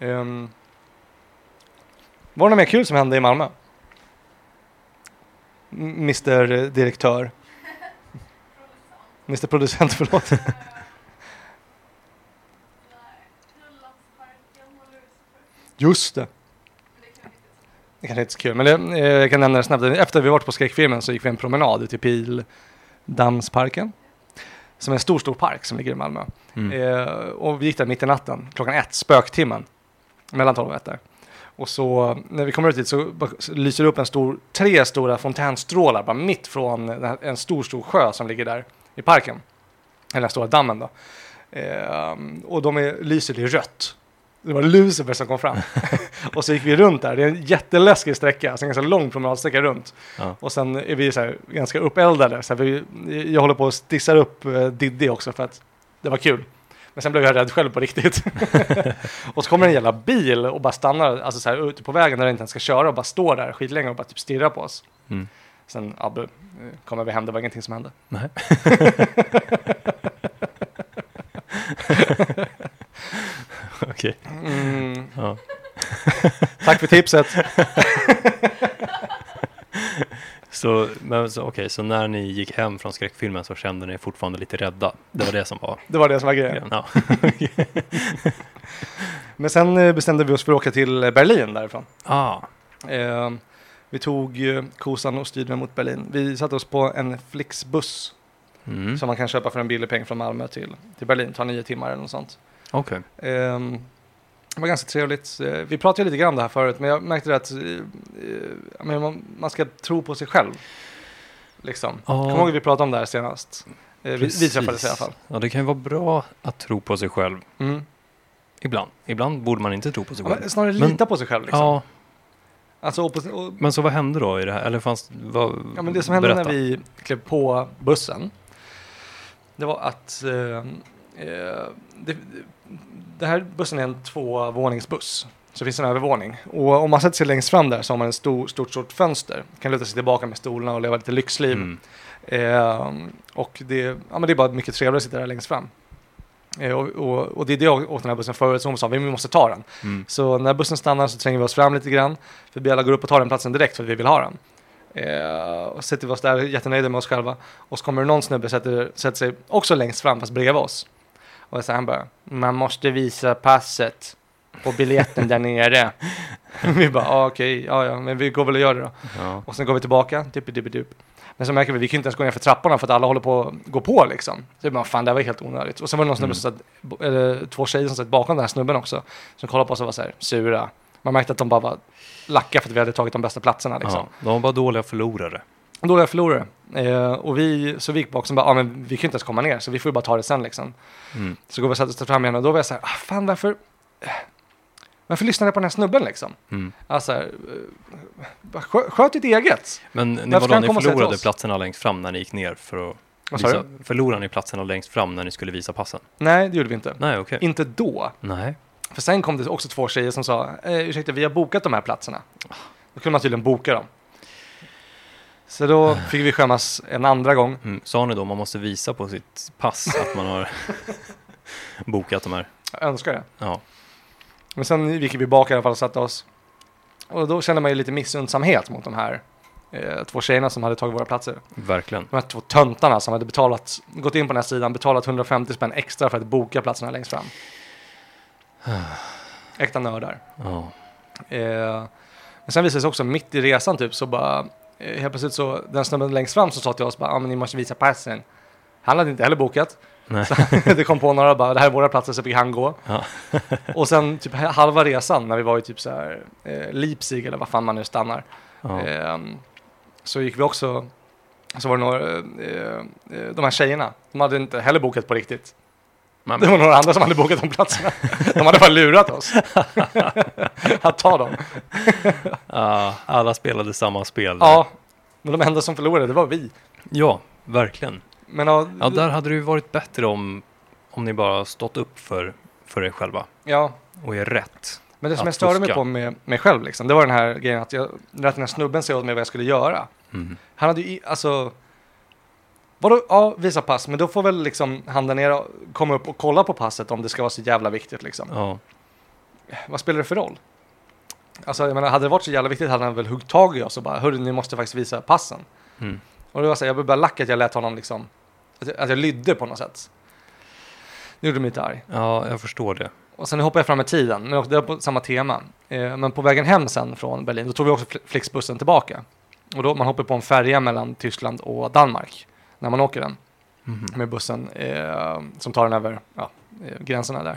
ehm, var det något mer kul som hände i Malmö? M- Mr Direktör. Mr Producent, förlåt. Just det. Det kanske inte är så kul, men det, eh, jag kan nämna det snabbt. Efter vi varit på skräckfilmen så gick vi en promenad ut i Pildamsparken. Som är en stor, stor park som ligger i Malmö.
Mm.
Eh, och vi gick där mitt i natten, klockan ett, spöktimmen. Mellan 12 och 1 där. Och så när vi kommer ut dit så bara lyser det upp en stor, tre stora fontänstrålar bara mitt från den här- en stor, stor sjö som ligger där i parken. Eller den stora dammen då. Eh, och de är, lyser i rött. Det var Lucifer som kom fram. och så gick vi runt där. Det är en jätteläskig sträcka, alltså en ganska lång promenadsträcka runt.
Ja.
Och sen är vi så här, ganska uppeldade. Så här, vi, jag håller på att stissa upp eh, Diddy också för att det var kul. Men sen blev jag rädd själv på riktigt. och så kommer en jävla bil och bara stannar alltså så här, ute på vägen där den inte ens ska köra och bara står där skitlänge och bara typ stirrar på oss.
Mm.
Sen ja, bu- eh, kommer vi hem, det var ingenting som hände.
Nej. Okej.
Mm,
Ja.
tack för tipset.
Så, men, så, okej, så när ni gick hem från skräckfilmen så kände ni er fortfarande lite rädda? Det var det som var
Det var det som var grejen.
grejen? Ja.
Men sen eh, bestämde vi oss för att åka till eh, Berlin därifrån.
Ah,
Eh, vi tog eh, kosan och styrde mot Berlin. Vi satte oss på en Flixbuss
mm.
som man kan köpa för en billig peng från Malmö till, till Berlin. Tar nio timmar eller något sånt.
Okej.
Ehm, Det var ganska trevligt. Eh, Vi pratade ju lite grann om det här förut, men jag märkte det att eh, eh, jag menar, man, man ska tro på sig själv. Liksom.
Ja.
Kommer ihåg att vi pratade om det här senast? Eh, Vi, vi
Precis.
träffades i alla fall.
Ja, det kan ju vara bra att tro på sig själv
Mm.
ibland. Ibland borde man inte tro på sig
Ja,
själv.
men snarare
Men-
lita på sig själv. Liksom.
Ja,
Alltså, och, på- och,
men så vad hände då i det här? Eller fanns, vad,
ja, men det som hände
berätta.
när vi klev på bussen, det var att eh, eh, det, det här bussen är en tvåvåningsbuss. Så det finns en övervåning. Och om man sätter sig längst fram där så har man ett stor, stort, stort fönster. Kan luta sig tillbaka med stolarna och leva lite lyxliv.
Mm.
Eh, och det, ja, men det är bara mycket trevligare att sitta där längst fram. Eh, och, och, och det är det jag åt den här bussen förut, så hon sa vi måste ta den.
Mm.
Så när bussen stannar så tränger vi oss fram lite grann. För vi alla går upp och tar den platsen direkt för att vi vill ha den. Eh, och sätter vi oss där, jättenöjda med oss själva. Och så kommer det någon snubbe och sätter, sätter sig också längst fram, fast bredvid oss. Och så han bara, man måste visa passet. och biljetten där nere. vi bara, ah, okej, ja, ja, men vi går väl och gör det då.
Ja.
Och sen går vi tillbaka, typ, typ, typ. Men så märker vi, vi kan ju inte ens gå ner för trapporna för att alla håller på att gå på liksom. Så vi bara, fan det här var helt onödigt. Och sen var det någon snubbe
Mm.
som satt, eller två tjejer som satt bakom den här snubben också, som kollade på oss och var så här, sura. Man märkte att de bara var lacka för att vi hade tagit de bästa platserna liksom.
Ja, de var bara dåliga förlorare.
Dåliga förlorare. Eh, och vi, så vi gick bak och bara, ah, men vi kan ju inte ens komma ner, så vi får ju bara ta det sen liksom.
Mm.
Så går vi och sätter oss fram igen och då var jag så här, ah, fan varför, eh, varför lyssnade jag på den här snubben liksom?
Mm.
Alltså, eh, skö- sköt ditt eget.
Men ni,
Varför
var
ska
då,
han
ni
komma och säga till
förlorade
oss?
platserna längst fram när ni gick ner för att
Vad sa
visa,
du?
förlorade ni platserna längst fram när ni skulle visa passen?
Nej, det gjorde vi inte.
Nej, okej.
Inte då.
Nej.
För sen kom det också två tjejer som sa, eh, ursäkta vi har bokat de här platserna. Då kunde man tydligen boka dem. Så då fick vi skämmas en andra gång.
Mm. Sa ni då man måste visa på sitt pass att man har bokat de här?
Jag önskar det.
Ja.
Men sen gick vi bak i alla fall och satte oss. Och då kände man ju lite missundsamhet mot de här eh, två tjejerna som hade tagit våra platser.
Verkligen.
De här två töntarna som hade betalat, gått in på den här sidan, betalat 150 spänn extra för att boka platserna längst fram. Äkta nördar.
Ja.
Eh, men sen visade det sig också mitt i resan typ så bara eh, helt plötsligt så den snubben längst fram som sa till oss bara ah, men ni måste visa passen. Han hade inte heller bokat.
Nej.
Så det kom på några och bara det här är våra platser så fick han gå.
Ja.
och sen typ halva resan när vi var i typ så här eh, Leipzig eller vad fan man nu stannar.
Ja.
Ehm, så gick vi också, så var det några, eh, eh, de här tjejerna, de hade inte heller bokat på riktigt.
Men-
Det var några andra som hade bokat de platserna. De hade bara lurat oss. Att ta dem.
Ah, alla spelade samma spel.
Ja, men de enda som förlorade det var vi.
ja, verkligen.
Men ja,
Ja, där hade det ju varit bättre om, om ni bara stått upp för, för er själva
ja,
och är rätt.
men det som
Att
jag störde mig
fuska.
på med mig själv, liksom, det var den här grejen att jag lät den här snubben säga åt mig vad jag skulle göra. Han hade ju, i- alltså, vadå, ja, visa pass, men då får väl liksom han där nere komma upp och kolla på passet om det ska vara så jävla viktigt liksom.
Ja.
Vad spelar det för roll? Alltså, jag menar, hade det varit så jävla viktigt hade han väl huggit tag i oss och bara, hörru, ni måste faktiskt visa passen.
Mm.
Och det var så här, jag blev bara lack att jag lät honom liksom, att jag, att jag lydde på något sätt. Det gjorde mig lite arg.
ja, jag förstår det.
Och sen hoppade jag fram i tiden, men det var på samma tema. Eh, Men på vägen hem sen från Berlin, då tog vi också Fl- Flixbussen tillbaka. Och då man hoppar på en färja mellan Tyskland och Danmark när man åker den
Mm.
med bussen eh, som tar den över ja, eh, gränserna där.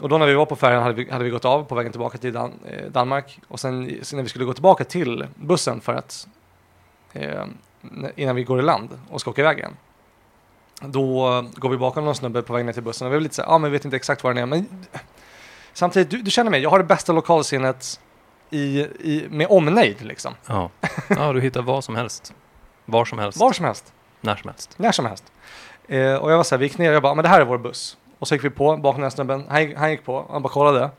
Och då när vi var på färjan hade vi, hade vi gått av på vägen tillbaka till Dan, eh, Danmark och sen, sen när vi skulle gå tillbaka till bussen för att eh, n- innan vi går i land och ska åka iväg igen. Då eh, går vi bakom någon snubbe på vägen ner till bussen och vi är lite så här, ja ah, men vi vet inte exakt var den är men samtidigt, du, du känner mig, jag har det bästa lokalsinnet i, i, med omnejd liksom.
Ja. ja, du hittar vad som helst. Var som helst,
Var som helst.
när som helst.
När som helst. Eh, och jag var så här, vi gick ner och jag bara, men det här är vår buss. Och så gick vi på bakom den här snubben, han, han gick på, han bara kollade.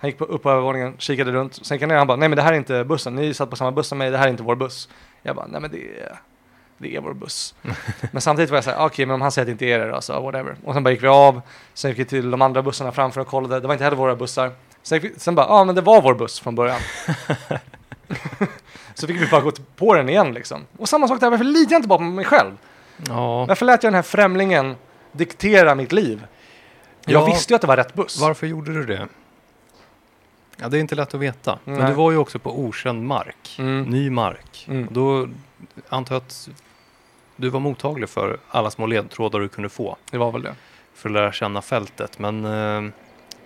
Han gick på, upp på övervåningen, kikade runt, sen gick han ner han bara, nej men det här är inte bussen, ni satt på samma buss som mig, det här är inte vår buss. Jag bara, nej men det är, det är vår buss. men samtidigt var jag så här, okej men om han säger att det inte är det då, så whatever. Och sen bara gick vi av, sen gick vi till de andra bussarna framför och kollade, det var inte heller våra bussar. Sen, gick vi, sen bara, ja ah, men det var vår buss från början. så fick vi bara gå t- på den igen liksom. Och samma sak där, varför litar jag inte bara på mig själv?
Ja,
Varför lät jag den här främlingen diktera mitt liv? Jag
Ja.
visste ju att det var rätt buss.
varför gjorde du det? Ja, det är inte lätt att veta. Men
Nej.
du var ju också på okänd mark,
Mm.
ny mark.
Mm.
Och Då antar jag att du var mottaglig för alla små ledtrådar du kunde få
Det var väl det.
för att lära känna fältet. Men, eh,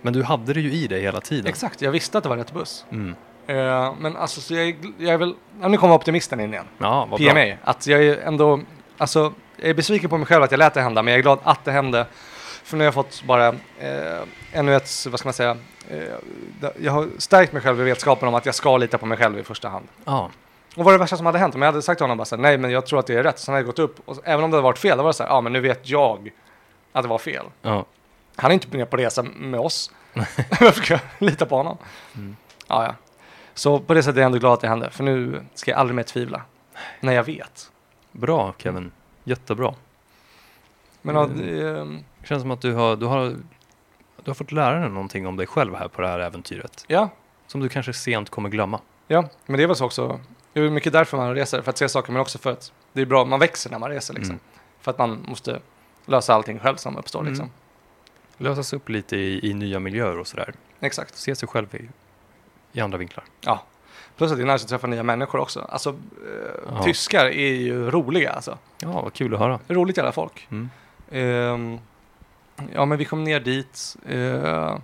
men du hade det ju i dig hela tiden.
Exakt, jag visste att det var rätt buss.
Mm.
Eh, men alltså, så jag, är gl- jag är väl... Ja, nu kommer optimisten in igen.
Ja, vad bra.
PMA. Att jag är ändå... Alltså, jag är besviken på mig själv att jag lät det hända, men jag är glad att det hände. För nu har jag fått bara eh, ännu ett, vad ska man säga, eh, jag har stärkt mig själv i vetskapen om att jag ska lita på mig själv i första hand.
Ja,
Och vad var det värsta som hade hänt? Om jag hade sagt till honom bara så här, nej men jag tror att det är rätt. Sen hade jag gått upp och även om det hade varit fel, då var det så här, ja men nu vet jag att det var fel.
ja.
Han är inte med på resa med oss. Varför ska jag lita på honom?
Mm.
Ja, ja. Så på det sättet är jag ändå glad att det hände, för nu ska jag aldrig mer tvivla. När jag vet.
Bra Kevin, jättebra.
Men
Mm.
ja, det, ehm,
Det känns som att du har, du, har, du har fått lära dig någonting om dig själv här på det här äventyret.
ja,
Som du kanske sent kommer glömma.
ja, men det är väl så också. Det är väl mycket därför man reser, för att se saker, men också för att det är bra, man växer när man reser liksom.
Mm.
För att man måste lösa allting själv som uppstår
Mm.
liksom.
Lösas upp lite i, i nya miljöer och sådär.
exakt.
Se sig själv i, i andra vinklar.
Plus att det är nice att träffa nya människor också. Alltså, eh,
Ja.
tyskar är ju roliga alltså.
Ja, vad kul att höra.
Roligt jävla folk.
Mm.
Ehm, ja, men vi kom ner dit eh,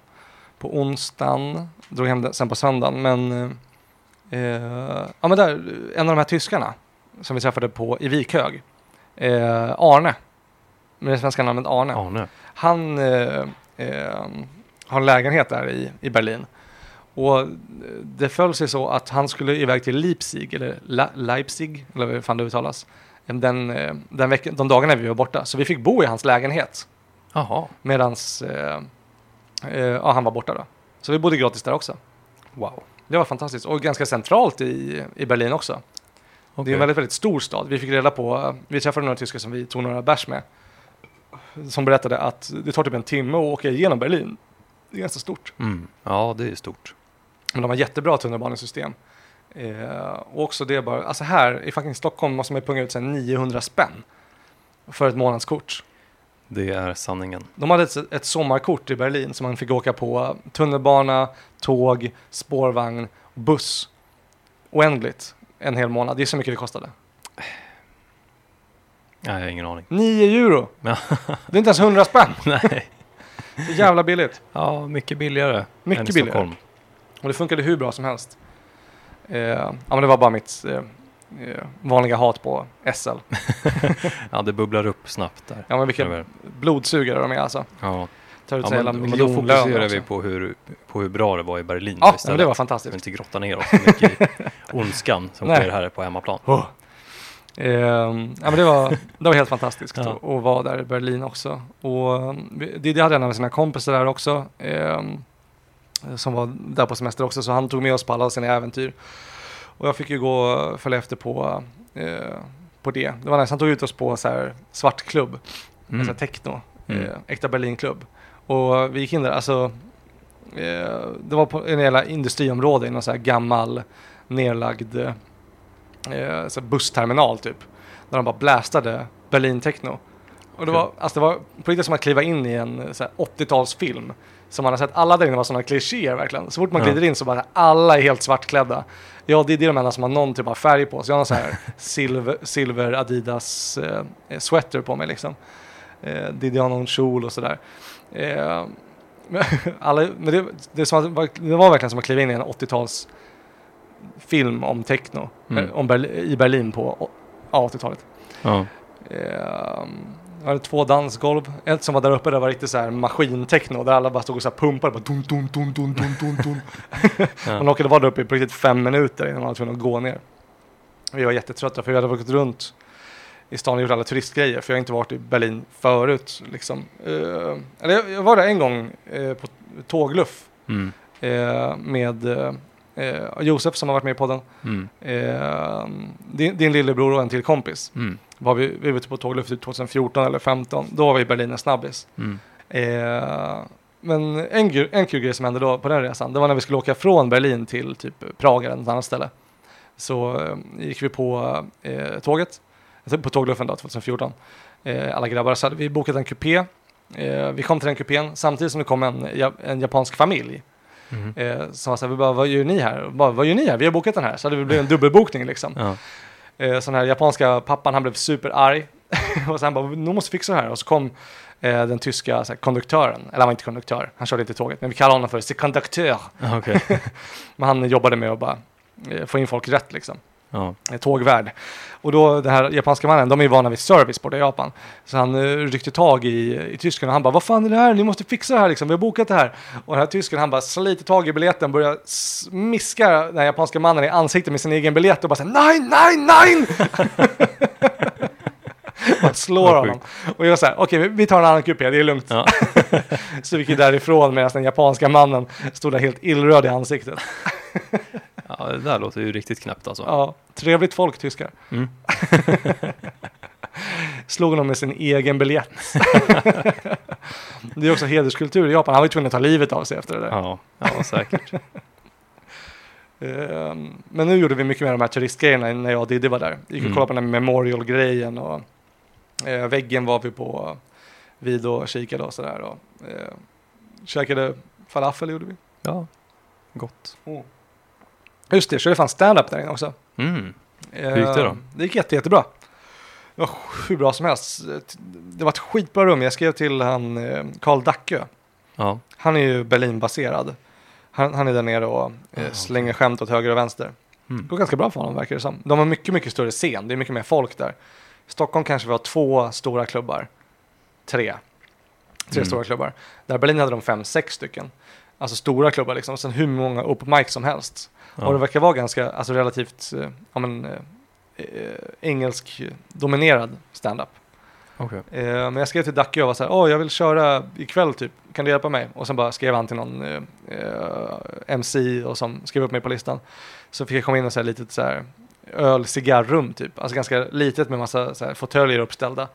på onsdagen, drog hem den sen på söndagen. Men, eh, ja, men där, en av de här tyskarna som vi träffade på i Vikhög, eh, Arne, med det svenska namnet Arne,
Arne.
han eh, eh, har en lägenhet där i, i Berlin. Och eh, det föll sig så att han skulle iväg till Leipzig, eller La- Leipzig, eller hur fan det uttalas, den, eh, den veckan, de dagarna vi var borta. Så vi fick bo i hans lägenhet
Jaha.
medan eh, eh, ja, han var borta. Då. Så vi bodde gratis där också.
Wow.
Det var fantastiskt och ganska centralt i, i Berlin också. Det är en
Okej.
väldigt, väldigt stor stad. Vi fick reda på, vi träffade några tyskar som vi tog några bärs med, som berättade att det tar typ en timme att åka igenom Berlin. Det är ganska stort.
Mm. Ja, det är stort.
Men de har jättebra tunnelbanesystem. Eh, och också det bara, alltså här i fucking Stockholm måste man ju punga ut sen 900 spänn för ett månadskort.
Det är sanningen.
De hade ett, ett sommarkort i Berlin som man fick åka på tunnelbana, tåg, spårvagn, buss. Oändligt. En hel månad. Det är så mycket det kostade.
Nej, jag har ingen aning.
9 euro! det
Ja.
är inte ens 100 spänn.
Nej.
Så jävla billigt.
Ja, mycket billigare
Mycket
än i
billigare.
Stockholm.
Och det funkade hur bra som helst. Eh, ja, men det var bara mitt eh, eh, vanliga hat på SL.
Ja, det bubblar upp snabbt där.
Ja, men vilka
Över.
blodsugare de är alltså.
Ja.
Tar ut
Ja,
sig hela
men, men då
miljonlöner
fokuserar
också.
vi på hur, på hur bra det var i Berlin
Ja, men
istället.
det var
Så vi
fantastiskt.
inte grottar ner oss så mycket i ondskan som
Nej.
sker här på hemmaplan.
Oh. Ehm, ja, men det, var, det var helt fantastiskt
Ja.
att- att vara där i Berlin också. Och um, vi- det, det hade en av sina kompisar där också, ehm, som var där på semester också, så han tog med oss på alla sina äventyr. Och jag fick ju gå och följa efter på, eh, på det. Det var nice, han tog ut oss på så här svart klubb,
Mm.
alltså techno,
Mm.
eh, äkta Berlinklubb. Och vi gick in där, alltså, eh, det var på en jävla industriområde i någon så här gammal nedlagd eh, så här bussterminal typ. Där de bara blastade Berlin Techno. Och det var, alltså det var på riktigt som att kliva in i en eh, så här 80-talsfilm. Som man har sett, alla där inne var sådana klichéer verkligen. Så fort man
Ja.
glider in så bara alla är helt svartklädda. Ja, det är det de enda som har någon typ av färg på sig. Jag har någon så här silver, silver Adidas eh, eh, sweater på mig liksom. Eh, det är det jag har någon kjol och sådär. Eh, men alla, men det, det, är som att, det var verkligen som att kliva in i en 80-tals film om techno
Mm.
eh, om Berli- i Berlin på å- ja, 80-talet.
Ja.
Ehm, jag hade två dansgolv. Ett som var där uppe där var riktigt så här maskintechno där alla bara stod och så här pumpade. Bara dun, dun, dun, dun, dun, dun, dun.
Ja.
Man orkade vara där uppe i på riktigt fem minuter innan man var tvungen att gå ner. Vi var jättetrötta för vi hade gått runt i stan och gjort alla turistgrejer för jag har inte varit i Berlin förut. Liksom. Ehm, eller jag, jag var där en gång eh, på tågluff
Mm.
eh, med eh, eh, Josef som har varit med i podden.
Mm.
Eh, din, din lillebror och en till kompis.
Mm.
Var vi, vi var ute på tågluft typ 2014 eller 15. Då var vi i Berlin en snabbis.
Mm.
Eh, men en, gru- en kul grej som hände då på den resan, det var när vi skulle åka från Berlin till typ Prag eller något annat ställe. Så eh, gick vi på eh, tåget, alltså på tågluffen då 2014. Eh, alla grabbar, så hade vi bokat en kupé. Eh, vi kom till den kupén samtidigt som det kom en, ja- en japansk familj
Mm.
eh, som var så här, vi bara, vad gör ni här? Och Bara, vad gör ni här? Vi har bokat den här. Så hade det blivit en dubbelbokning liksom.
Ja.
Eh, så den här japanska pappan, han blev superarg. och sen bara, nu måste vi fixa det här. Och så kom eh, den tyska så här, konduktören, eller han var inte konduktör, han körde inte tåget, men vi kallar honom för "C'est konduktör.
Ja, Okej.
Men han jobbade med att bara eh, få in folk rätt liksom
Ja.
eh, tågvärd. Och då den här japanska mannen, de är ju vana vid service borta i Japan. Så han eh, ryckte tag i, i tysken och han bara, vad fan är det här? Ni måste fixa det här liksom, vi har bokat det här. Och den här tysken, han bara sliter tag i biljetten, börjar smiska den här japanska mannen i ansiktet med sin egen biljett och bara säger nej, nej, nej! Man slår
Vad
honom. Och jag var så här, okej, vi- vi tar en annan kupé, det är lugnt.
Ja.
Så vi gick ju därifrån medan den japanska mannen stod där helt illröd i ansiktet.
ja, det där låter ju riktigt knäppt alltså.
Ja, trevligt folk, tyskar.
Mm.
Slog honom med sin egen biljett. det är också hederskultur i Japan. Han var ju tvungen att ta livet av sig efter det där.
Ja, ja säkert.
Ehm, Men nu gjorde vi mycket mer av de här turistgrejerna när jag och Diddy var där. Gick och
Mm.
kollade på den här memorial-grejen och eh, väggen var vi på vid och kikade och sådär. Och, eh, käkade falafel gjorde vi.
Ja, gott.
Just det, körde fan stand-up där inne också.
Mm. Hur gick det då?
Eh, Det gick jätte, jättebra. Det var hur bra som helst. Det var ett skitbra rum. Jag skrev till han eh, Karl Dackö.
Ja,
Han är ju Berlinbaserad. Han, han är där nere och eh,
Ah,
slänger skämt åt höger och vänster.
mm.
Det går ganska bra för honom verkar det som. De har mycket, mycket större scen. Det är mycket mer folk där. I Stockholm kanske vi har två stora klubbar. Tre. Tre
Mm.
stora klubbar. Där i Berlin hade de fem, sex stycken. Alltså stora klubbar liksom. Och sen hur många open mic som helst. Och det
ja.
verkar vara ganska, alltså relativt, eh, ja men, eh, eh, engelsk dominerad standup.
okej.
Eh, men jag skrev till Dacke och var så här, åh jag vill köra ikväll typ, kan du hjälpa mig? Och sen bara skrev han till någon eh, eh, MC och som skrev upp mig på listan. Så fick jag komma in och så här litet så här öl, cigarrum typ. Alltså ganska litet med massa så här, fåtöljer uppställda.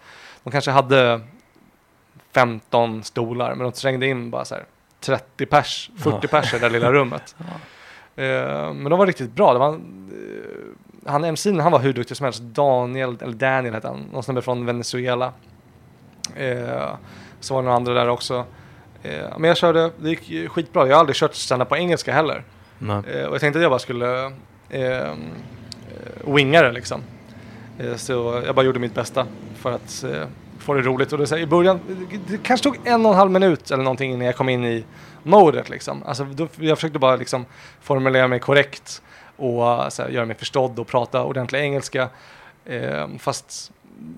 De kanske hade 15 stolar, men de trängde in bara så här 30 pers, 40
Ja.
pers i det där lilla rummet. Eh, men de var riktigt bra. Det var, eh, han MC'n, han var hur duktig som helst. Daniel, eller Daniel hette han, någon snubbe från Venezuela. Eh, så var det några andra där också. Eh, men jag körde, det gick ju skitbra. Jag har aldrig kört stand på engelska heller.
Nej.
Eh, och jag tänkte att jag bara skulle eh, eh, winga det liksom. Eh, så jag bara gjorde mitt bästa för att eh, få det roligt. Och det, är så här, i början, det kanske tog en och en halv minut eller någonting innan jag kom in i modet liksom. Alltså, då, jag försökte bara liksom formulera mig korrekt och eh, så här, göra mig förstådd och prata ordentlig engelska. Eh, fast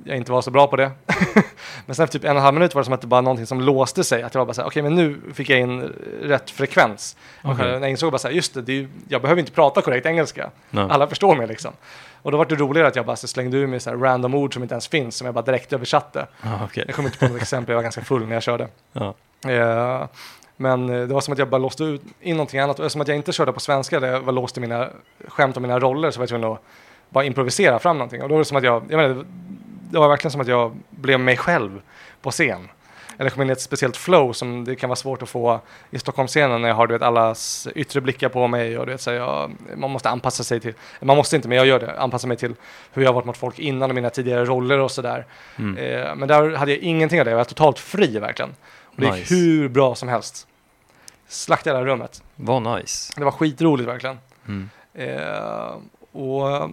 jag inte var så bra på det. men sen efter typ en och en halv minut var det som att det bara någonting som låste sig. Att jag var bara så här, okej men nu fick jag in rätt frekvens. Och
Okej.
När jag insåg bara så här, just det, det är ju, jag behöver inte prata korrekt engelska.
Nej.
Alla förstår mig liksom. Och då var det roligare att jag bara så slängde ur mig så här random ord som inte ens finns, som jag bara direkt översatte.
Ja, okej.
Jag kommer inte på något exempel, jag var ganska full när jag körde.
Ja.
Eh, men eh, det var som att jag bara låste ut in någonting annat. Och eftersom att jag inte körde på svenska, där jag var låst i mina skämt och mina roller, så var jag tvungen att bara improvisera fram någonting. Och då var det som att jag, jag menar, det var verkligen som att jag blev mig själv på scen. Eller kom in i ett speciellt flow som det kan vara svårt att få i Stockholmsscenen när jag har du vet, allas yttre blickar på mig och du vet, så här, jag, man måste anpassa sig till, man måste inte men jag gör det, anpassa mig till hur jag har varit mot folk innan och mina tidigare roller och sådär.
Mm.
Eh, men där hade jag ingenting av det, jag var totalt fri verkligen. Och det gick
Nice.
hur bra som helst. Slaktade hela rummet.
Vad nice.
Det var skitroligt verkligen.
Mm.
Eh, och eh,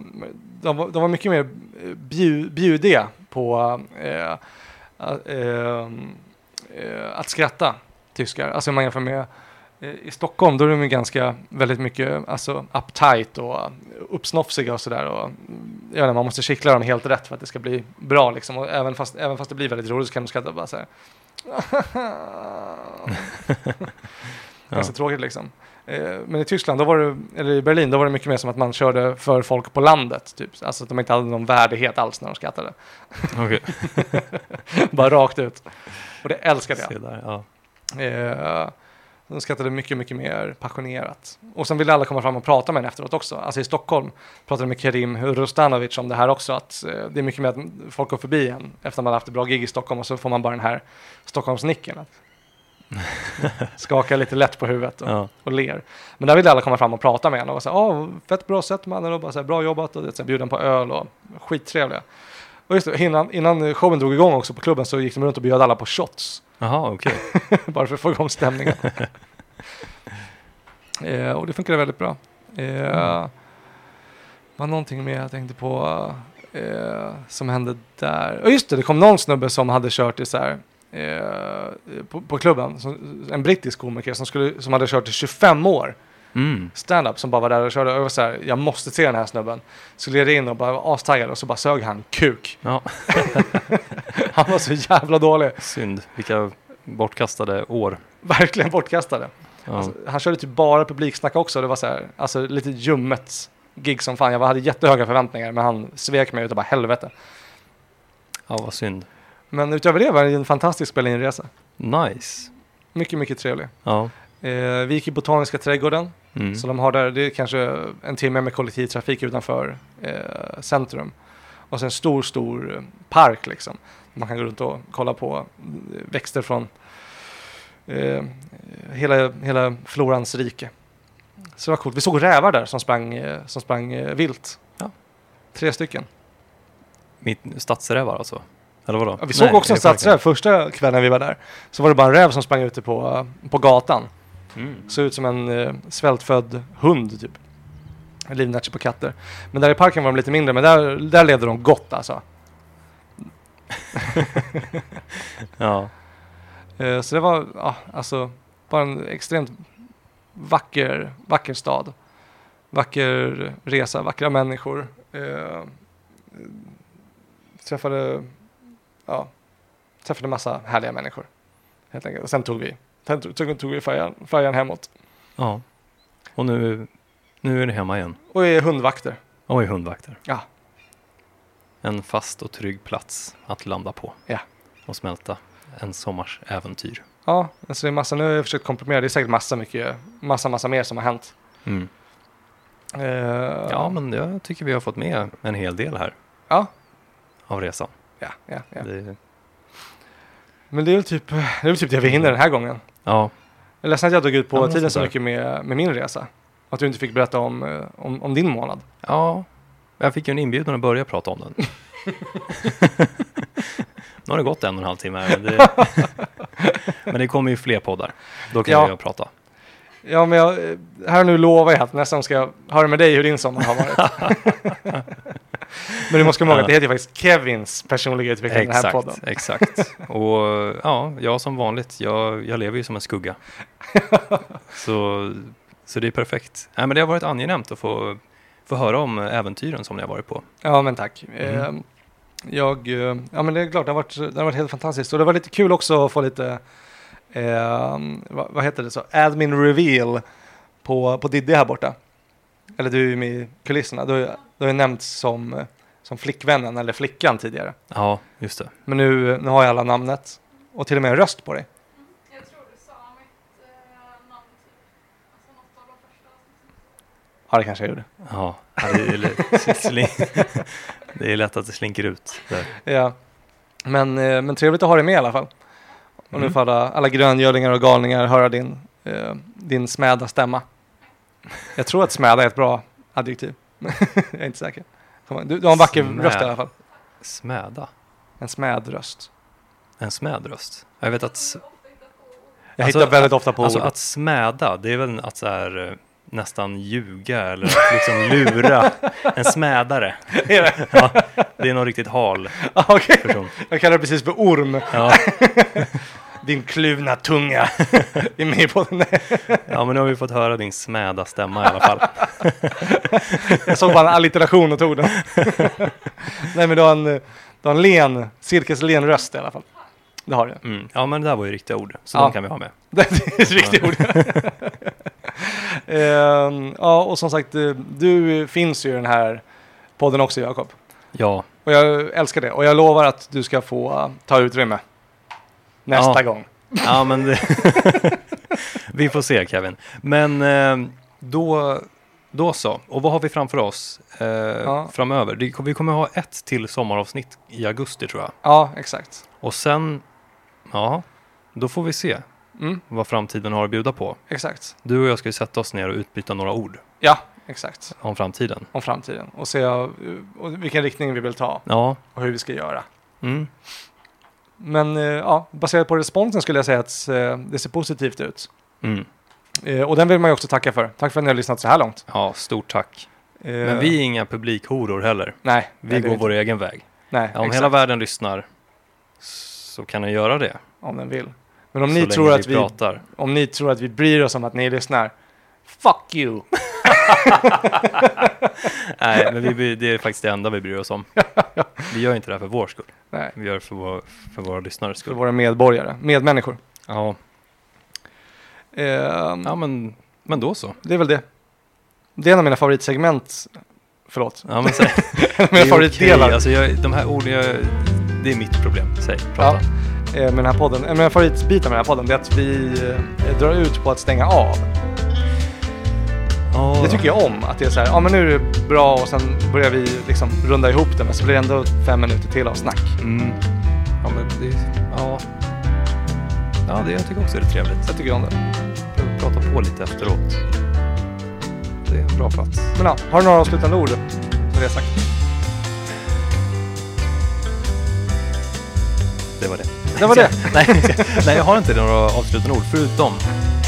de, var- de var mycket mer eh, bju, bjudiga på eh, att, eh, eh, att skratta, tyskar. Alltså om man jämför med eh, i Stockholm, då är de ju ganska väldigt mycket alltså, uptight och eh, uppsnofsiga och sådär. Och, mm, jag vet inte, man måste kittla dem helt rätt för att det ska bli bra liksom. Och även fast, även fast det blir väldigt roligt så kan de skratta bara så här. Ganska tråkigt liksom. Eh, Men i Tyskland, då var det, eller i Berlin, då var det mycket mer som att man körde för folk på landet. Typ. Alltså att de inte hade någon värdighet alls när de skrattade.
Okej.
Bara rakt ut. Och det älskade jag.
Se där. Ja.
Eh, De skrattade mycket, mycket mer passionerat. Och sen ville alla komma fram och prata med en efteråt också. Alltså i Stockholm pratade jag med Kerim Rustanovic om det här också, att eh, det är mycket mer att folk går förbi en efter man har haft ett bra gig i Stockholm och så får man bara den här Stockholmsnicken. Att skaka lite lätt på huvudet och,
Ja.
och ler. Men där ville alla komma fram och prata med en och var så här, "Ah, fett bra sätt mannen och bara så här, bra jobbat och det, så här, bjuden på öl och skittrevliga. Och just det, innan, innan showen drog igång också på klubben så gick de runt och bjöd alla på shots.
Jaha, okej.
Bara för att få igång stämningen. eh, och det funkade väldigt bra. Eh, var någonting mer jag tänkte på eh, som hände där. Och just det, det kom någon snubbe som hade kört i så här eh, på, på klubben, som, en brittisk komiker som, skulle, som hade kört i 25 år
Mm.
stand-up som bara var där och körde. Och jag var så här, jag måste se den här snubben. Så gled jag in och bara var astaggad och så bara sög han kuk.
Ja,
Han var så jävla dålig.
synd. Vilka bortkastade år.
Verkligen bortkastade.
Ja.
Alltså, han körde typ bara publiksnack också. Det var så här, alltså lite ljummet gig som fan. Jag hade jättehöga förväntningar, men han svek mig utav bara helvete.
ja, vad synd.
Men utöver det var det en fantastisk Berlinresa.
Nice.
Mycket, mycket trevlig.
Ja.
Eh, vi gick i Botaniska trädgården,
Mm.
så de har där, det är kanske en timme med kollektivtrafik utanför eh, centrum. Och sen en stor, stor eh, park liksom. Man kan gå runt och kolla på eh, växter från eh, hela, hela florans rike. Så det var coolt. Vi såg rävar där som sprang, eh, som sprang eh, vilt.
Ja.
Tre stycken.
Mitt stadsrävar alltså? Eller vadå?
Ja, vi såg
Nej,
också en
i parken.
stadsräv första kvällen vi var där. Så var det bara en räv som sprang ute på, eh, på gatan.
Mm.
Såg ut som en eh, svältfödd hund typ. Livnärt sig på katter. Men där i parken var de lite mindre, men där, där levde de gott alltså.
Ja.
Eh, så det var ja, alltså, bara en extremt vacker, vacker stad. Vacker resa, vackra människor. Eh, träffade, ja, träffade massa härliga människor. Helt enkelt. Och sen tog vi, sen tog, tog vi färjan, färjan hemåt.
ja. Och nu, nu är ni hemma igen
Och är hundvakter.
och är hundvakter.
Ja.
En fast och trygg plats att landa på.
Ja.
Och smälta en sommars äventyr.
Ja, alltså det är massa, nu har jag försökt komprimera, det är säkert massa mycket, massa, massa mer som har hänt.
Mm.
Eh,
Ja, men jag tycker vi har fått med en hel del här
Ja,
av resan.
ja, ja, ja.
Det,
Men det är väl typ det, är väl typ det vi hinner den här gången.
ja,
Jag är ledsen att jag drog ut på
Ja, men
tiden så
sådär.
mycket med, med min resa. Att du inte fick berätta om, eh, om, om din månad.
Ja, jag fick ju en inbjudan att börja prata om den. nu har det gått en och en halv timme. här, Men det, men det kommer ju fler poddar. Då kan
Ja.
jag prata.
Ja, men jag, eh, här och nu lovar jag att nästa gång ska jag höra med dig hur din sommar har varit. men du måste komma ihåg att det heter ju faktiskt Kevins personliga utveckling i den här podden.
Exakt, exakt. Och ja, jag som vanligt, jag, jag lever ju som en skugga. så, så det är perfekt. Nej, men det har varit angenämt att få, få höra om äventyren som ni har varit på.
Ja, men tack.
Mm.
Eh, Jag, eh, ja men det är klart, det har, varit, det har varit helt fantastiskt. Och det var lite kul också att få lite, eh, vad, vad heter det, så? admin reveal på, på Diddy här borta. Eller du är ju med i kulisserna. Du, har- du har ju nämnts som, som flickvännen eller flickan tidigare.
Ja, just det.
Men nu, nu har jag alla namnet och till och med en röst på dig.
Jag tror du sa mitt eh, namn typ. Alltså något av de första avsnitten.
Ja, det kanske jag gjorde.
Ja, ja, det är, lätt- det är lätt att det slinker ut. Där.
Ja. Men, eh, men trevligt att ha dig med i alla fall. Och nu
Mm.
får alla, alla gröngölingar och galningar höra din, eh, din smäda stämma. Jag tror att smäda är ett bra adjektiv. jag är inte säker. Kom igen. Du, du har en vacker
Smäd.
röst i alla fall.
Smäda.
En smädröst.
En smäd röst. Jag vet att, s-
Jag
Alltså,
hittar väldigt ofta på
alltså
ord.
att smäda, det är väl att så här, eh, nästan ljuga eller att liksom lura. En smädare.
Är det?
Ja, det är någon riktigt hal
Ah, okej.
person.
Jag kallar det precis för orm.
Ja,
Din kluvna tunga. är med på den. Nej,
ja, men nu har vi fått höra din smäda stämma i alla fall.
Jag såg bara en allitteration och tog den. Nej, men du har en, eh, du har en len, cirkuslen röst i alla fall. Det har du.
Mm. Ja, men det där var ju riktiga ord, så
Ja.
de kan vi ha med.
Det är ett riktigt ord. Ehm, ja, och som sagt, eh, du finns ju i den här podden också, Jakob.
Ja,
Och jag älskar det. Och jag lovar att du ska få eh, ta utrymme nästa
Ja.
gång.
ja men det... vi får se Kevin. Men eh, då, då så, och vad har vi framför oss eh, framöver? Det- Vi kommer ha ett till sommaravsnitt i augusti tror jag.
Ja, exakt.
Och sen, ja, då får vi se
Mm,
vad framtiden har att bjuda på.
exakt.
Du och jag ska ju sätta oss ner och utbyta några ord
Ja, exakt.
om framtiden.
Om framtiden. Och se eh, och vilken riktning vi vill ta
Ja,
och hur vi ska göra.
mm.
Men eh, ja, baserat på responsen skulle jag säga att eh, det ser positivt ut.
Mm.
Eh, och den vill man ju också tacka för. Tack för att ni har lyssnat så här långt.
ja stort tack.
Eh,
Men vi är inga publikhoror heller.
nej,
Vi
nej, det är
går vår egen väg.
Nej,
Om
exakt.
hela världen lyssnar så kan den göra det.
om den vill. Men om
så
ni,
länge
tror att vi,
pratar.
om ni tror att vi bryr oss om att ni lyssnar, fuck you!
Nej, men vi, vi- det är faktiskt det enda vi bryr oss om. Vi gör inte det här för vår skull.
Nej,
Vi gör det för, vår, för våra lyssnares
för
skull.
våra medborgare, medmänniskor.
Ja,
Ehm,
ja men, men då så.
Det är väl det. Det är en av mina favoritsegment, förlåt,
Ja, men, så,
en av
Det är
mina
okej,
favoritdelar
Alltså jag, de här orden, jag, det är mitt problem. Säg, prata.
eh, med den här podden. En av mina favoritbitar med den här podden det är att vi eh, drar ut på att stänga av.
Ja.
Det tycker jag om, att det är så här, ja men nu är det bra och sen börjar vi liksom runda ihop det, men så blir det ändå fem minuter till av snack.
Mm. Ja, men det, ja. ja, det jag tycker också är det trevligt.
Jag tycker om det.
Att prata på lite efteråt. Det är en bra plats.
Men ja, har du några avslutande ord med det sagt?
Det var det.
Det var det.
Nej, nej jag har inte några avslutande ord förutom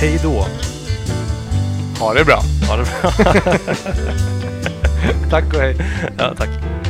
hej då
Ha det bra.
Ha det bra.
Tack och hej. 哎
Ja, tack.